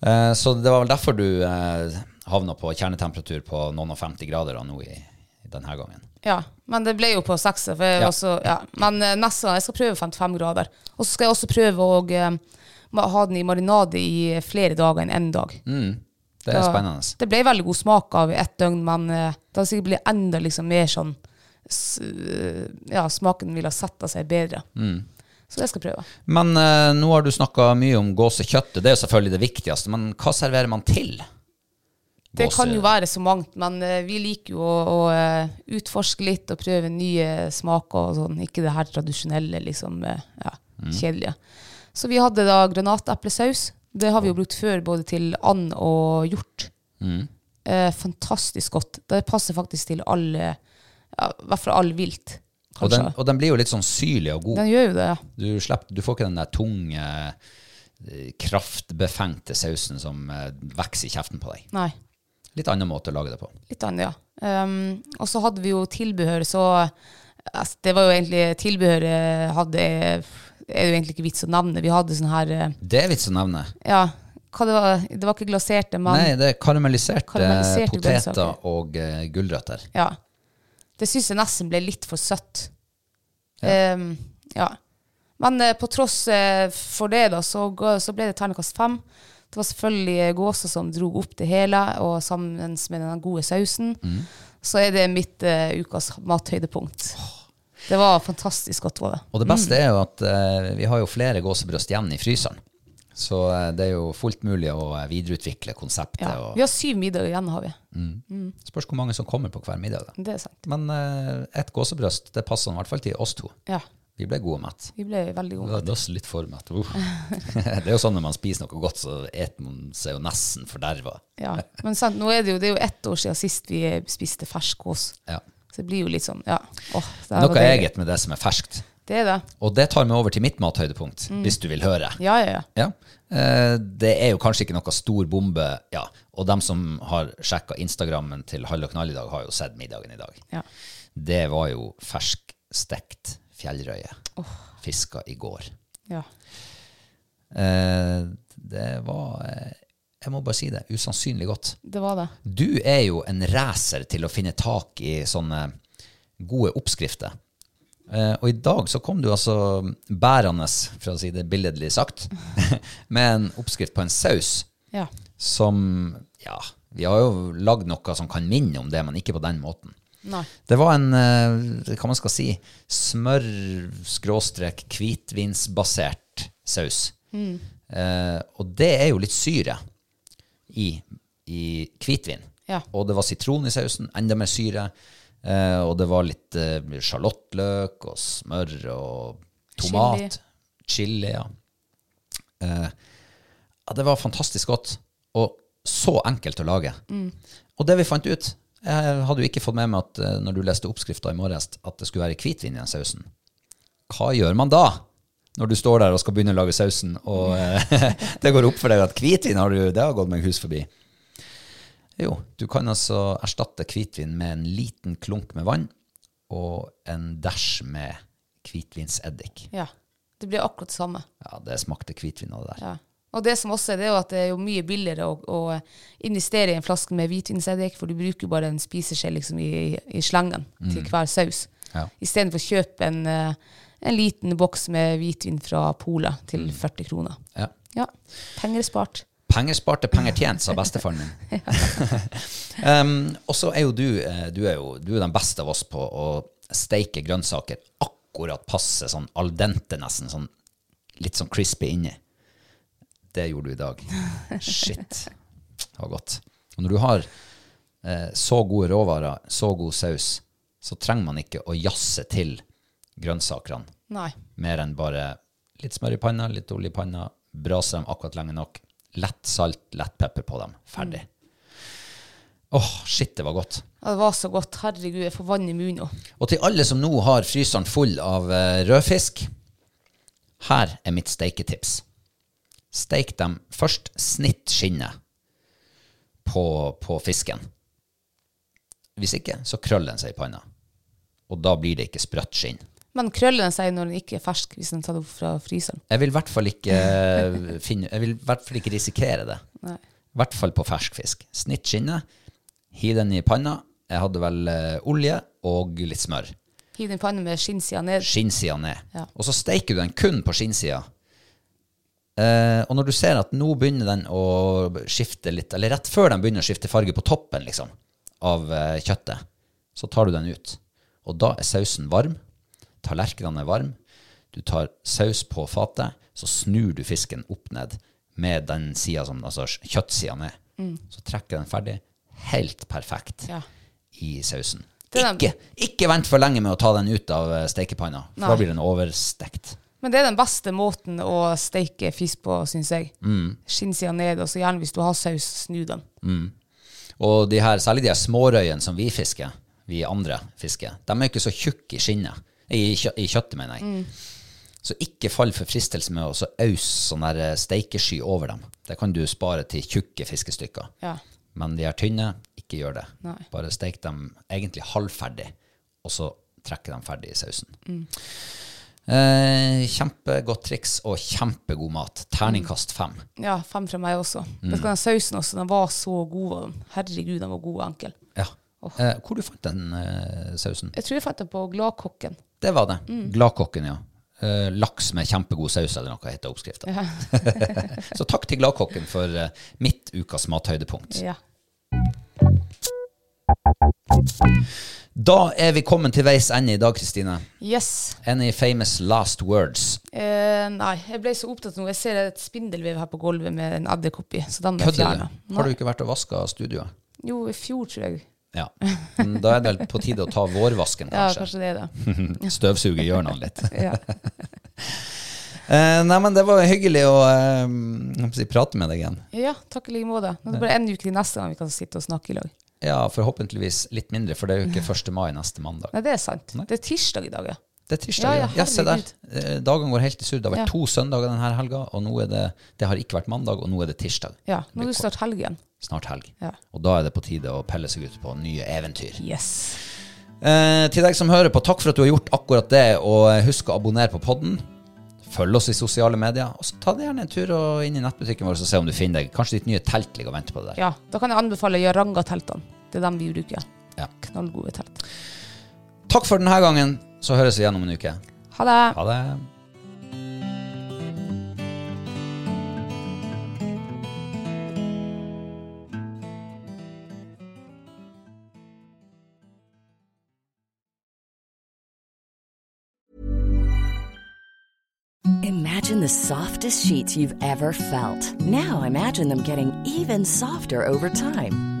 Speaker 3: Eh, Så det var vel derfor du eh, havna på kjernetemperatur på noen og 50 grader da, nå i, i denne gangen.
Speaker 4: Ja, men det ble jo på sekser. For jeg
Speaker 3: Ja.
Speaker 4: også, ja. Men eh, neste gang jeg skal prøve 55 grader. Og så skal jeg også prøve å eh, ma- ha den i marinade i flere dager enn én dag.
Speaker 3: Det er
Speaker 4: Da-
Speaker 3: spennende.
Speaker 4: Det ble veldig god smak av i ett døgn, men eh, det har sikkert blitt enda liksom mer sånn s- eh, Ja, smaken ville ha setta seg bedre.
Speaker 3: Mm.
Speaker 4: Så det skal jeg prøve.
Speaker 3: Men eh, nå har du snakka mye om gåsekjøttet, det er jo selvfølgelig det viktigste. Men hva serverer man til?
Speaker 4: Det
Speaker 3: Gåse-
Speaker 4: kan jo være så mangt, men eh, vi liker jo å, å eh, utforske litt og prøve nye smaker og sånn. Ikke det her tradisjonelle, liksom, eh, ja,
Speaker 3: Mm.
Speaker 4: kjedelige. Så vi hadde da granateplesaus. Det har vi jo brukt før både til and og hjort.
Speaker 3: Mm.
Speaker 4: Eh, fantastisk godt. Det passer faktisk til all, eh, ja, i hvert fall all vilt.
Speaker 3: Og den,
Speaker 4: Kanskje.
Speaker 3: og den blir jo litt sånn syrlig og god.
Speaker 4: Den gjør jo det, ja.
Speaker 3: Du, slipper, du får ikke den der tunge, eh, kraftbefengte sausen som eh, vokser i kjeften på deg.
Speaker 4: Nei.
Speaker 3: Litt annen måte å lage det på.
Speaker 4: Litt annet, ja. Ehm, og så hadde vi jo tilbehør, så altså, Det var jo egentlig Tilbehøret hadde er det jo egentlig ikke vits å nevne. Vi hadde sånn her eh,
Speaker 3: Det er vits å nevne.
Speaker 4: Ja, hva det var Det var ikke glaserte, men
Speaker 3: Nei, det er karamelliserte,
Speaker 4: Karamelliserte grønnsaker.
Speaker 3: poteter og eh, gulrøtter.
Speaker 4: ja. Det syns jeg nesten ble litt for søtt. Ehm, ja. Men eh, på tross eh, for det, da, så, ga- så ble det terningkast fem. Det var selvfølgelig eh, gåsa som dro opp det hele, og sammen med den gode sausen, så er det mitt eh, ukas mathøydepunkt. Det var fantastisk godt, var det.
Speaker 3: Og det beste er jo at eh, vi har jo flere gåsebrøst igjen i fryseren. Så eh, det er jo fullt mulig å eh, videreutvikle konseptet.
Speaker 4: Ja. Vi
Speaker 3: Og
Speaker 4: har syv middager igjen, har vi.
Speaker 3: spørs hvor mange som kommer på hver middag. Da.
Speaker 4: Det er sant.
Speaker 3: Men eh, ett gåsebrøst det passer i hvert fall til oss to.
Speaker 4: Ja,
Speaker 3: Vi ble gode mett.
Speaker 4: vi ble veldig
Speaker 3: Vi
Speaker 4: gode.
Speaker 3: var da litt for mett. Uh. det er jo sånn når man spiser noe godt, så eter man seg jo nesten forderva.
Speaker 4: Ja. Men sant, nå er det jo, det er jo ett år siden sist vi eh, spiste fersk gås.
Speaker 3: Ja.
Speaker 4: Så det blir jo litt sånn, ja. Åh, det her var
Speaker 3: Noe
Speaker 4: deilig.
Speaker 3: eget med det som er ferskt.
Speaker 4: Det er det.
Speaker 3: Og det tar meg over til mitt mathøydepunkt, hvis du vil høre.
Speaker 4: Mm. Ja, ja, ja.
Speaker 3: Ja. Eh, Det er jo kanskje ikke noe stor bombe, ja. og dem som har sjekka Instagrammen til Hall og Knall i dag, har jo sett middagen i dag.
Speaker 4: Ja.
Speaker 3: Det var jo ferskstekt fjellrøye. Fiska i går.
Speaker 4: ja.
Speaker 3: Eh, Det var eh, Jeg må bare si det. Usannsynlig godt.
Speaker 4: Det var det.
Speaker 3: Du er jo en racer til å finne tak i sånne gode oppskrifter. Eh, og i dag så kom du altså bærende, for å si det billedlig sagt, med en oppskrift på en saus
Speaker 4: Ja.
Speaker 3: som Ja, vi har jo lagd noe som kan minne om det, men ikke på den måten.
Speaker 4: Nei.
Speaker 3: Det var en, eh, hva man skal si, smør-hvitvinsbasert saus. Eh, og det er jo litt syre i, i hvitvin.
Speaker 4: Ja.
Speaker 3: Og det var sitron i sausen, enda mer syre. Eh, og det var litt eh, sjalottløk og smør og tomat. Chili. ja. Eh, ja, det var fantastisk godt, og så enkelt å lage. Og det vi fant ut Jeg hadde jo ikke fått med meg at eh, når du leste oppskrifta i morges, at det skulle være hvitvin i den sausen. Hva gjør man da? Når du står der og skal begynne å lage sausen, og eh, det går opp for deg at hvitvin har du, det har gått meg hus forbi. Jo, du kan altså erstatte hvitvin med en liten klunk med vann og en dæsj med hvitvinseddik.
Speaker 4: ja. Det blir akkurat det samme.
Speaker 3: Ja, det smakte hvitvin av det der.
Speaker 4: Ja. Og det som også er, det er jo at det er jo mye billigere å, å investere i en flaske med hvitvinseddik, for du bruker jo bare en spiseskje liksom i, i slengen til
Speaker 3: Mm.
Speaker 4: hver saus.
Speaker 3: Ja.
Speaker 4: Istedenfor å kjøpe en, eh, en liten boks med hvitvin fra Polet til
Speaker 3: Mm.
Speaker 4: 40 kroner.
Speaker 3: Ja.
Speaker 4: Ja. Penger spart.
Speaker 3: Penger sparte, penger tjent, sa bestefaren min. um, og så er jo du, eh, du er jo du er den beste av oss på å steike grønnsaker akkurat passe, sånn al dente nesten, sånn litt sånn crispy inni. Det gjorde du i dag. Shit. Det var godt. Og når du har eh, så gode råvarer, så god saus, så trenger man ikke å jazze til grønnsakene
Speaker 4: Nei.
Speaker 3: mer enn bare litt smør i panna, litt olje i panna, brase dem akkurat lenge nok, lett salt, lett pepper på dem, ferdig. Åh, shit, det var godt.
Speaker 4: Ja, det var så godt. Herregud, jeg får vann i munnen nå.
Speaker 3: Og til alle som nå har fryseren full av eh, rødfisk, her er mitt steiketips. Steik dem først, snitt skinnet på, på fisken. Hvis ikke, så krøller den seg i panna. Og da blir det ikke sprøtt skinn.
Speaker 4: Men krøllene sier når den ikke er fersk, hvis den tar det opp fra fryseren.
Speaker 3: Jeg vil i hvert fall ikke, eh, finne, jeg vil i hvert fall ikke risikere det.
Speaker 4: Nei.
Speaker 3: I hvert fall på fersk fisk. Snitt skinnet, hiv den i panna. Jeg hadde vel eh, olje og litt smør.
Speaker 4: Hiv den i panna med skinnsida ned.
Speaker 3: Skinnsida ned.
Speaker 4: Ja.
Speaker 3: Og så steiker du den kun på skinnsida. Eh, og når du ser at nå begynner den å skifte litt, eller rett før den begynner å skifte farge på toppen liksom, av eh, kjøttet, så tar du den ut. Og da er sausen varm. Tallerkenene er varm. Du tar saus på fatet, så snur du fisken opp ned med den sida som altså kjøttsida ned. Så trekker den ferdig. Helt perfekt
Speaker 4: Mm. Ja.
Speaker 3: i sausen.
Speaker 4: Det er den-
Speaker 3: Ikke, ikke vent for lenge med å ta den ut av eh, stekepanna, for
Speaker 4: Nei.
Speaker 3: da blir den overstekt.
Speaker 4: Men det er den beste måten å steike fisk på, syns jeg. Skinnsida ned, og så gjerne hvis du har saus, snu den.
Speaker 3: Og de her, særlig de her smårøyene som vi fisker, vi andre fisker, de er ikke så tjukke i skinnet, i, kjø, i kjøttet, mener jeg.
Speaker 4: Mm.
Speaker 3: Så ikke fall for fristelse med å så ause sånn der eh, steikesky over dem. Det kan du spare til tjukke fiskestykker.
Speaker 4: Ja.
Speaker 3: Men de her tynne, ikke gjør det.
Speaker 4: Nei.
Speaker 3: Bare stek dem egentlig halvferdig, og så trekke dem ferdig i sausen.
Speaker 4: Mm.
Speaker 3: Eh, kjempegodt triks og kjempegod mat. Terningkast fem.
Speaker 4: Ja, fem fra meg også. Vet du hva, den sausen også, den var så god. av den. Herregud, den var god og enkel.
Speaker 3: Ja. Eh, hvor du fant den eh, sausen?
Speaker 4: Jeg tror jeg fant den på Gladkokken.
Speaker 3: Det var det.
Speaker 4: Mm.
Speaker 3: Gladkokken, ja. Eh, laks med kjempegod saus eller noe heter oppskriften. så takk til Gladkokken for eh, mitt ukas mathøydepunkt.
Speaker 4: Ja.
Speaker 3: Da er vi kommet til veis ende i dag, Kristine.
Speaker 4: Yes.
Speaker 3: Any famous last words?
Speaker 4: Eh, nei, jeg ble så opptatt nå. Jeg ser et spindelvev her på gulvet med en edderkopp i, så den må jeg
Speaker 3: Kødder
Speaker 4: fjerne.
Speaker 3: du? Har du ikke vært og vaska studioet?
Speaker 4: Jo, i fjor, tror jeg.
Speaker 3: Ja. Men Da er det vel på tide å ta vårvasken,
Speaker 4: Ja,
Speaker 3: kanskje.
Speaker 4: kanskje det er det.
Speaker 3: Støvsuge hjørnene litt.
Speaker 4: Ja.
Speaker 3: Eh, nei, men det var hyggelig å eh, jeg håper å si, prate med deg igjen.
Speaker 4: ja, takk i like måte. Nå er det bare en uke til neste gang vi kan sitte og snakke i lag.
Speaker 3: Ja, forhåpentligvis litt mindre, for det er jo ikke 1. mai neste mandag.
Speaker 4: Nei, det er sant.
Speaker 3: Nei.
Speaker 4: Det er tirsdag i dag, ja.
Speaker 3: Det er tirsdag.
Speaker 4: Ja,
Speaker 3: Ja,
Speaker 4: ja,
Speaker 3: ja, se der. Eh, Dagene går helt i surr. Det har vært
Speaker 4: Ja.
Speaker 3: to søndager denne helga, og nå er det Det har ikke vært mandag, og nå er det tirsdag.
Speaker 4: ja. Nå
Speaker 3: Det
Speaker 4: er
Speaker 3: blir
Speaker 4: det snart helg igjen.
Speaker 3: snart helg.
Speaker 4: Ja.
Speaker 3: Og da er det på tide å pelle seg ut på nye eventyr.
Speaker 4: Yes.
Speaker 3: Eh, til deg som hører på, takk for at du har gjort akkurat det, og eh, husk å abonnere på podden. Følg oss i sosiale medier, og så ta deg gjerne en tur og inn i nettbutikken vår og se om du finner deg. Kanskje ditt nye telt ligger og venter på deg der.
Speaker 4: Ja, da kan jeg anbefale Jaranga-teltene. Det er dem vi bruker.
Speaker 3: Ja.
Speaker 4: Knallgode telt.
Speaker 3: Takk for denne gangen, så høres vi igjen om en uke.
Speaker 4: Ha det!
Speaker 3: Ha det.
Speaker 5: Imagine the softest sheets you've ever felt. Now imagine them getting even softer over time.